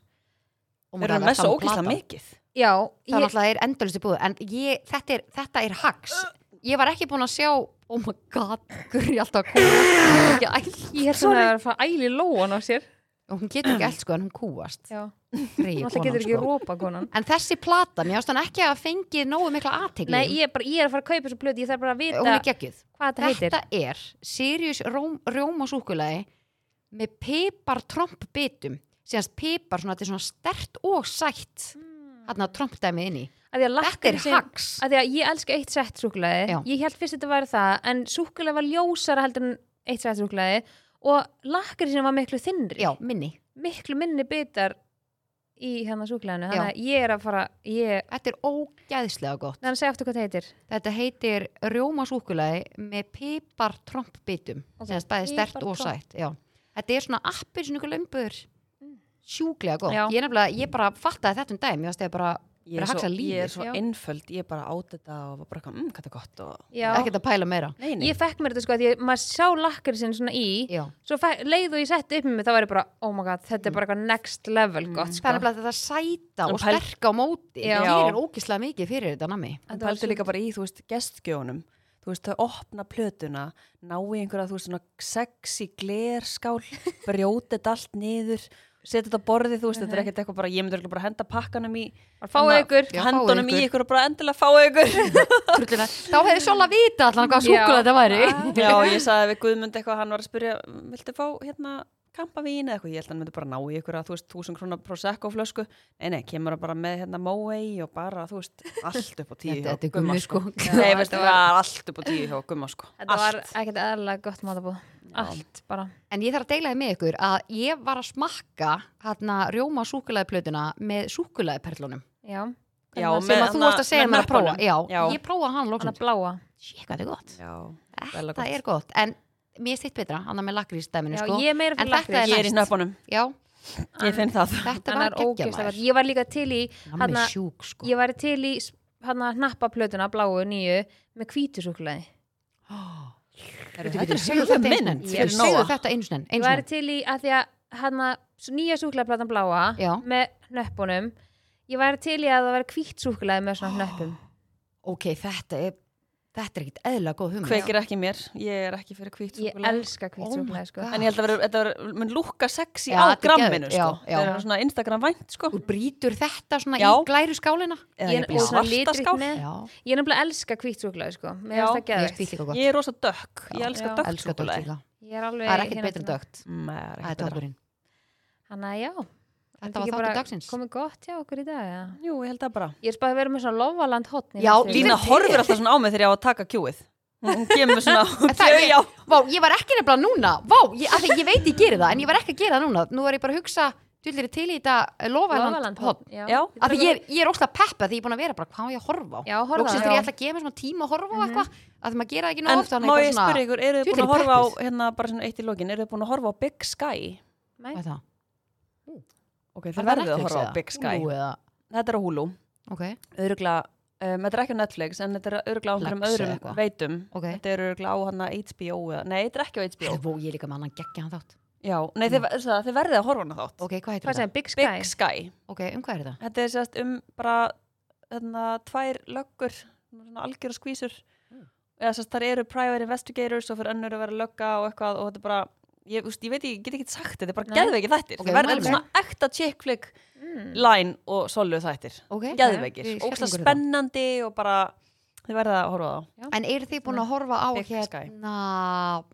A: Oh my
B: Við
A: God,
B: erum með
A: það
B: svo
A: var
B: ógísla
A: platan.
B: mikið.
C: Já,
A: Það er
C: ég,
A: alltaf þeir endalistu búið En ég, þetta, er, þetta er hags Ég var ekki búin að sjá Oh my god, gurri alltaf að kúast Ég er ekki æll
C: ég er svona að vera að fara æli lóan á sér
A: Og Hún getur ekki æll sko en hún kúast
C: Já,
A: Greyið
C: alltaf
A: konan,
C: getur ekki
A: sko.
C: rópa konan
A: En þessi plata, mér ástæðan ekki að hafa fengið Nógu mikla aðtegli
C: Nei, ég er, bara, ég er að fara að kaupa þessu plöti, ég þarf bara að vita
A: Hún er geggjuð
C: hvað þetta heitir
A: Þetta er Sirius róm, Rómasúkulagi Með pipar trompbitum Síðast pipar svona, þetta er svona stert og sætt
C: Mm.
A: Þarna trompdæmið inn í
C: Að
A: Þetta
C: því að
A: er
C: lakkrís
A: hags
C: að því að ég elska eitt sett súkulaði
A: Já.
C: ég held fyrst þetta væri það en súkulaði var ljósara heldur en eitt sett súkulaði og lakkarísinu var miklu þinnri
A: Já, minni
C: miklu minni bitar í hérna súkulaðinu
A: Já.
C: þannig að ég er að fara ég,
A: Þetta er ógæðslega gott
C: þannig að segja aftur hvað það heitir
A: Þetta heitir rjómasúkulaði með pipartrompbitum okay.
C: Ok,
A: sem er bæði stert og
C: pipartromp.
A: sætt já. Þetta er svona appir svona ykkur lömbur sjúklega gott
C: Mm. Já.
A: ég, nefnilega, ég bara fattaði þetta um dæmi ég varst eða bara
B: Ég er
A: Bara
B: svo,
A: haxa lífið,
B: ég er svo
C: já.
B: einföld, ég er bara át þetta og var bara eitthvað, mmm, hvað þetta er gott og...
C: Já.
A: ekkert að pæla meira
B: Nei, nei.
C: ég fekk mér þetta sko að því að maður sá lakkarísinu svona í
A: já. Mm.
C: svo fekk, leið og ég setti upp með mig þá væri bara oh my god þetta er bara eitthvað next level
A: Það
C: gott
A: er
C: sko.
A: nefnilega þetta sæta
B: En
A: og
B: pæl-
A: sterka á móti
C: Já.
A: það gerir ógislega mikið fyrir þetta nami
B: En
C: Þetta var
B: pældu líka bara í, þú veist, gestgjónum þú veist, þau opna plötuna ná í einhverja, þú veist, svona sexy glerskál, brjóti þetta allt niður, setja þetta á borðið þú veist, þetta er ekkert eitthvað bara, ég myndi örugglega bara henda pakkanum í
C: Bara Mhm. fáið ykkur
A: Já, fáið
B: hendunum í
A: ykkur.
B: ykkur og bara endilega fáu ykkur
A: Trullulega. þá hefði svolga vita allan hvað
C: Já.
A: súkulaði þetta væri
B: Já, ég sagði við Guðmund eitthvað, hann var að spyrja viltu fá, hérna, kampavín eða eitthvað, ég held að hann myndi bara ná í ykkur að, þú veist, 1000 krónar prosecco flösku, nei, nei, kemur hann bara með, hérna, Moe og bara, þú veist, allt upp á tíu
A: Þetta-
B: hjá
A: þetta er
B: Gumma,
A: Gummi, sko.
B: sko. Nei,
C: Já,
B: veistu,
C: þetta
B: það var allt upp á tíu hjá Gumma, sko.
C: þetta var
B: Allt.
C: ekkert eðlilega gott matabóð allt bara
A: En ég þarf að deila þið með ykkur að ég var að smakka hérna rjóma með súkulaðiperlunum
C: já,
B: Já,
C: Hvernig var-
A: sem
B: með
A: að þú
B: hana-
A: varst að segja
B: með
A: mér að prófa
B: hnöppunum.
A: já,
B: Já.
A: ég prófaði hann
C: hana
A: loksins
C: bláa
A: Shit, hvað þetta er gott
B: Já,
A: Þetta
B: vel gott.
A: er gott, en mér stýtt betra hann með lakrísdæminu
C: já,
A: sko
C: ég er meira
A: En
C: fyrir
A: þetta er
C: lakkrís
B: Ég er í
A: næst.
B: snöpunum,
A: já,
B: ég finn það.
A: þetta
C: hann
A: var
C: er ógeðslega
A: geggjamaður
C: verð ég var líka til í,
A: hann
C: Þarna-
A: er sjúk sko
C: ég var til í hann að nappa plötuna bláu nýju með hvítusúklaði
A: Bíddu, bíddu,
B: Þetta
A: segðu
B: er
A: þetta einu
B: minn
A: sinni.
B: fyrir
A: Segðu
B: Nóa.
A: þetta einu sinni
C: ég
A: einu
C: var
A: sinni.
C: til í að því að hann að nýja súklaðplatan bláa
A: Já.
C: með hnöppunum ég var til í að það væri hvítsúklaði með
A: Ah,
C: svona hnöppum
A: ok, þetta er þetta er ekkit eðla góð hugmynd
B: Kveikir ekki mér, ég er ekki fyrir hvít
C: ég
B: súkulega.
C: elska
A: Oh my
C: hvítsúklaði sko.
A: God.
B: En ég held að vera- þetta verður, mun lúkka sexy
A: Já,
B: á
A: þetta er
B: gramminu,
A: geðveikt,
B: sko.
A: já, já.
B: Það er svona Instagram vænt, sko.
A: þú brýtur þetta svona
B: Já.
A: í glæru skálina
B: Eða
C: ég,
B: jafnvel
C: og svona
B: svarta
C: litríkt
B: skál.
C: með
A: já,
C: ég er nefnilega elska hvítsúklaði sko. Mér
B: Já.
C: finnst það
A: ég er
C: geðveikt.
A: spýtt líka gott
B: Ég er rosa dökk, ég
C: Já.
B: elska
C: Já.
B: dökk
A: elskar dögt
B: súkulega.
A: líka
C: ég er alveg
A: það er ekkit
C: hérna
A: betra en
C: svona-
A: dögt
B: Nei, það er
A: það er
B: ekkert betra.
A: toppurinn
C: þannig að já
A: Þetta
C: Þetta
A: var
C: ekki
A: þáttur
C: bara
A: dagsins.
C: komið gott hjá okkur í dag ja.
B: Jú, ég held að bara.
C: ég er spáð að vera með svona lovaland hotn
A: Já,
B: Lína horfir alltaf svona á mig þegar ég á að taka kjúið. Hún gemur svona, hún
A: það er-
B: gefur já.
A: Vá, ég var ekki nefnilega núna Vá, ég, af því ég veit ég geri það En ég var ekki að gera það núna Nú er ég bara að hugsa Dullir til í þetta Lofaland
C: lovaland
A: hot
C: hotn já,
B: Já.
A: Af því ég, ég er óslega peppa Því ég er búin að vera bara Hvað á ég að horfa á
C: Já, horfa á
A: Lóksins
C: það,
A: þegar
C: já.
A: ég ætla að gefa mér svona tíma að horfa á eitthvað Af því maður gera það ekki nú
B: Mhm. En
A: ofta
B: má ég spyrja ykkur, eru þið búin að
A: Djúlir
B: horfa á,
A: peppis.
B: hérna, bara svona eitt í lokin, eru þið búin að horfa á Big Sky?
C: Nei.
A: Það
B: Ok,
A: Er
B: þið
A: það
B: verðið að
A: Netflix
B: horfa á
A: eða?
B: Big Sky.
A: Hulu eða-
B: Þetta er á Hulu.
A: Ok,
B: örugla, um, þetta er ekki á Netflix en þetta er örugla á einhverjum
A: Plex eða
B: öðrum
A: eitthvað.
B: veitum
A: Ok.
B: þetta er örugla á hérna hana HBO eða, nei, þetta er ekki á HBO
A: Vó, ég er líka með annan geggja hann þátt
B: já, nei, þið, það, þið verðið að horfa á hana þátt
A: Mm. Ok, hvað heitir þetta?
C: hvað sem, Big Sky
B: Big Sky,
A: Ok, um hvað er þetta?
B: þetta er sérst um bara þarna, tvær löggur svona algjör og skvísur eða sérst þar eru private investigators og fyrir önnur að vera lögga og eitthvað og þetta er bara Ég, úst, ég veit, ég get ekki sagt þetta, þetta er bara
C: Nei.
B: geðveiki þættir
A: Ok,
B: það verður
A: mælum
B: alveg svona ekta chick flick
C: Mm.
B: line og solu þættir
A: Ok, hérna,
B: geðveikir,
A: ég skal
B: ógsta
A: hringa í það.
B: spennandi og bara, þið verða að horfa á það
A: En eru þið búin að horfa á
B: Mm. Big Sky.
A: hérna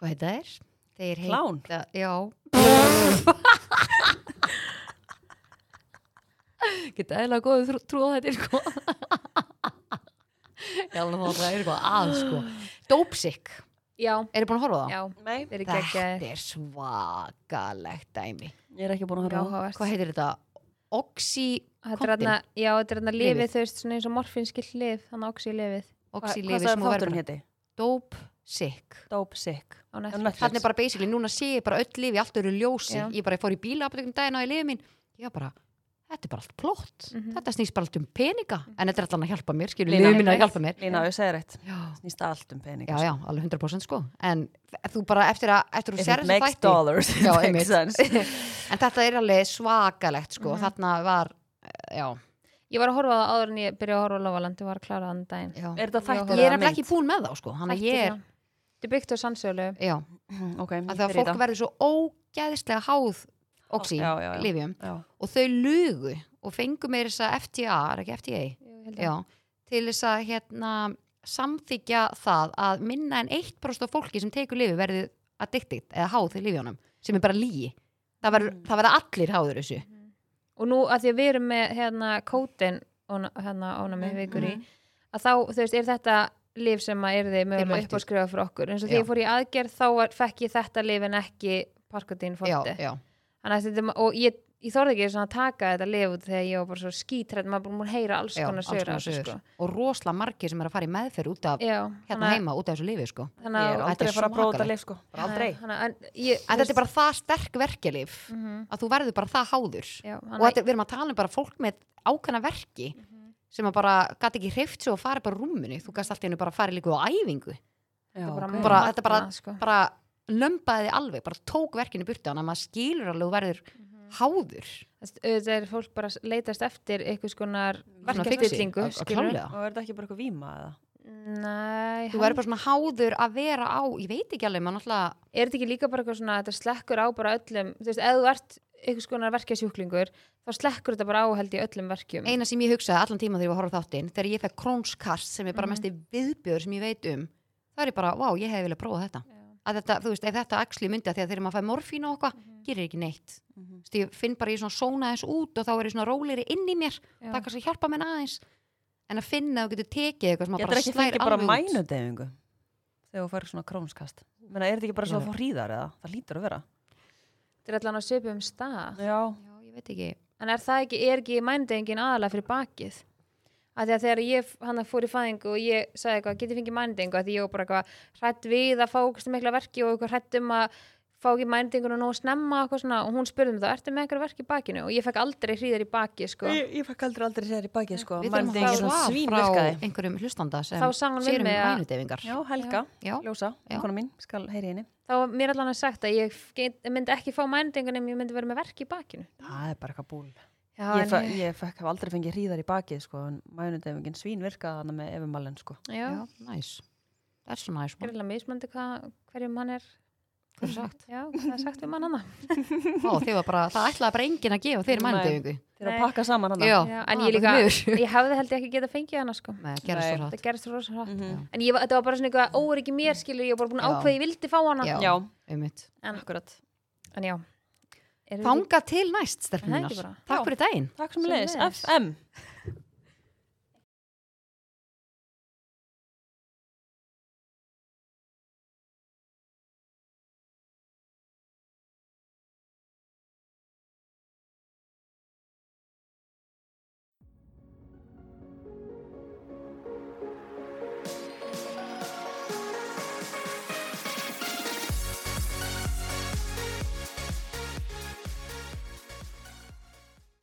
A: Hvað heita þeir? Þeir heita
B: Klán?
A: Já Geta eðla góðu trú, trú á þetta sko Ég alveg má það er eitthvað að sko Dópsik
C: já,
A: Eru búin að horfa á það?
C: já,
B: Nei,
C: þeir eru geggjaðir
A: Þetta er svakalegt dæmi
B: ég er ekki búin að horfa á það.
C: áhugavert.
A: Hvað heitir þetta? Oxy
C: Þetta er
A: Kompinn.
C: hérna, já, þetta er hérna
A: Lyfið.
C: lifið, þú veist, svona eins og morfinskilt lif, þannig oxy lifið
A: Oxy
B: Hvað
A: lifi sem
B: sagði
A: hún
B: þátturinn
A: verður
B: héti?
A: Dope Sick
B: Dope Sick. Á
C: á Netflix.
B: Netflix.
A: Þannig bara basically, núna sé ég bara öll lifi, allt eru ljósi
C: Já.
A: Ég bara fór í bílaaptekum daginn á í lifi mín Ég var bara, þetta er bara allt plott
C: Mhm.
A: Þetta snýst bara allt um peninga
B: Mhm.
A: En þetta er allan að hjálpa mér, skilur
B: Lína.
A: lifi mín er að hjálpa mér
B: Lína, ég segir rétt.
A: Já,
B: Snýst allt um pening.
A: já, já, alveg 100% sko En þú bara eftir að, eftir að þú
B: If
A: sér
B: it
A: þess
B: makes
A: þætti
B: dollars, it
A: Já,
B: makes
A: einmitt.
B: sense.
A: En þetta er alveg svakalegt sko
C: Mhm.
A: Þarna var, já,
C: Ég var að horfa á það áður en ég byrjaði að horfa á Lovaland, ég var að klára þann daginn.
A: já.
B: Er þetta
C: Já,
A: Ég
B: þættir
A: er
B: eða
A: nefnilega
B: mynd?
A: ekki búin með þá sko Þannig að
C: Þættir,
A: ég er,
C: já. Þetta er byggt á sannsölu.
A: já,
B: Mhm, Ok,
A: að það fólk verður svo ógæðislega háð oxy,
B: Já, já, já.
A: lifjum
B: verður.
A: og þau lugu og fengu meir þess að FTA, er ekki FTA
C: Ég held að-
A: já, til þess að hérna, samþykja það að minna en 1% af fólki sem tekur lifi verði addicted eða háð í lifjónum sem er bara lígi það verður-
B: Mm.
A: það verða allir háður þessu
C: Og nú að því að við erum með hérna kótin, óna- hérna ónami
A: Mm,
C: vikur í, að þá, þú veist, er þetta lif sem að er þið mögulega
A: mættu.
C: upp á skrifa fyrir okkur. En svo
A: Já.
C: þegar ég fór í aðgerð þá var, fekk ég þetta lif en ekki parkotín
A: já,
C: fótti.
A: já,
C: Þannig að þetta, og ég, ég þorði ekki svona að taka þetta lif út þegar ég var bara svo skítrætt, maður bara múin heyra alls
A: já,
C: konar
A: alls
C: sögur. af
A: konar
C: þessu,
A: sögur
C: sko.
A: og rosla margir sem er að fara í meðferð út af
C: Já,
A: hérna
C: þannig að-
A: heima út af þessu lifi sko
C: þannig
B: Ég er
C: að
A: Þetta
B: aldrei
A: er
B: að fara að prófa
A: svakalegt.
B: þetta leif, sko. Bara Aldrei.
C: Þannig að- en ég-
A: en
C: þú
A: þetta er
C: veist-
A: bara það sterk verkelif
C: Mhm.
A: að þú verður bara það háður
C: Já,
A: og
C: þannig
A: þetta, við erum að tala um bara fólk með ákveðna verki sem að bara gæti ekki hreift svo og farið bara úr rúminu, þú gæst allt í hennu bara farið líka á æfingu,
B: Já,
C: að
B: ok.
C: mjög
A: bara-
C: magnað,
A: þetta bara-
C: sko.
A: bara lömbaði þig alveg, bara tók verkinu í burtu þannig að maður skilur alveg og verður
B: Mhm.
A: háður
C: Þess- auðvitað er fólk bara að leitast eftir einhvers konar
A: Svona
C: verkefstillingu
A: fixi, að- að klálega.
B: Og er þetta ekki bara eitthvað víma eða?
C: Nei,
A: þú verður bara svona háður að vera á ég veit ekki alveg, maður náttúrulega
C: er þetta ekki líka bara eitthvað svona þetta slekkur á bara öllum þú veist, ef þú ert einhvers konar verkefsjúklingur þá slekkur þetta bara á held í öllum
B: Mm.
C: verkjum
A: eina sem ég hugsaði allan tíma þegar ég var að horfa á þáttinn þegar ég fekk krónskast sem er
B: Mhm.
A: bara mesti viðbjör sem ég veit um, það er ég bara, vá, ég hefði viljað prófa þetta að þetta, þú veist, ef þetta axli myndi að því að þegar maður fæ morfín og okkar, gerir ekki neitt
B: Mhm.
A: Þú veist, ég finn bara ég svona sóna þess út og þá er ég svona rólegri inn í mér
C: Já.
A: það er kannski að hjálpa mér aðeins en að finna að þú getur tekið eitthvað sem að
B: Getur
A: bara
B: ekki
A: slær
B: fengið bara
A: alveg út
B: mænudefingu þegar þú færir svona krónskast? Menna, er þetta ekki bara svo
A: Já.
B: að fá hríðar eða? Það lítur að vera.
C: þetta er allan á söpum stað
B: Já.
A: Já, ég veit ekki
C: en er það ekki, er ekki mændengin aðalega fyrir bakið að því að þegar ég hann fór í fæðingu og ég sagði eitthvað, geti fengið mændingu að því ég var bara eitthvað hrætt við að fá eitthvað mikla verki og eitthvað hrætt um að fá ekki mændingun og nóg snemma og eitthvað svona og hún spurði mig það, ertu með eitthvað verki í bakinu og ég fekk aldrei hríðar í baki sko.
B: Ég, ég fekk aldrei aldrei sér í bakið sko.
A: við þurfum
B: Mænudefingu
A: að
B: svona
A: fá
B: svín
A: svar frá
B: virkaði.
A: einhverjum hlustanda sem
C: Þá sagði hann við
A: sér um
C: mig að-
A: mænudefingar
B: Já, Helga,
A: Já.
B: Ljósa, einhvern mín, skal heyri henni.
C: þá var mér allan að sagt að ég get, myndi ekki fá mændingun en ég myndi vera með verk í bakinu
B: Það er bara eitthvað búl.
C: já,
B: Ég, fe,
C: en,
B: ég fekk, hef aldrei fengið hríðar í bakið sko, en mænudefingin svín virkaði hann með efumalinn sko.
C: já,
A: Já, næs Það er svo næs,
C: ég er
A: maður.
C: alveg mismöndi hverjum mann er
A: hvað er sagt?
C: já, það er sagt við mann annað
A: Ó, þið var bara, það ætlaði bara enginn að gefa þeir
B: Nei.
A: mænudefingu
B: Þeir að
C: Nei.
B: pakka saman hann.
A: Já,
C: Já, en
A: það
C: ég
A: er bara
C: líka-
A: miður.
C: ég hefði held ég ekki getað fengið hana sko
A: Nei, gerðist
B: Nei.
A: svo hratt.
C: það gerðist rosa hratt
B: Mhm.
C: en ég, var- þetta var bara svona eitthvað óryggi mér skilur ég var bara búin að
A: Já.
C: ákveða ég vildi fá hana
A: Já.
B: Já,
A: Einmitt.
C: En-
B: akkurat.
C: en já, Eruð þið-
A: Þangað til næst,
C: Er það
A: stelpunar
C: ekki bara?
A: Takk
B: Já.
A: fyrir daginn
B: Takk sem leðis,
C: Sömuleiðis.
B: FM.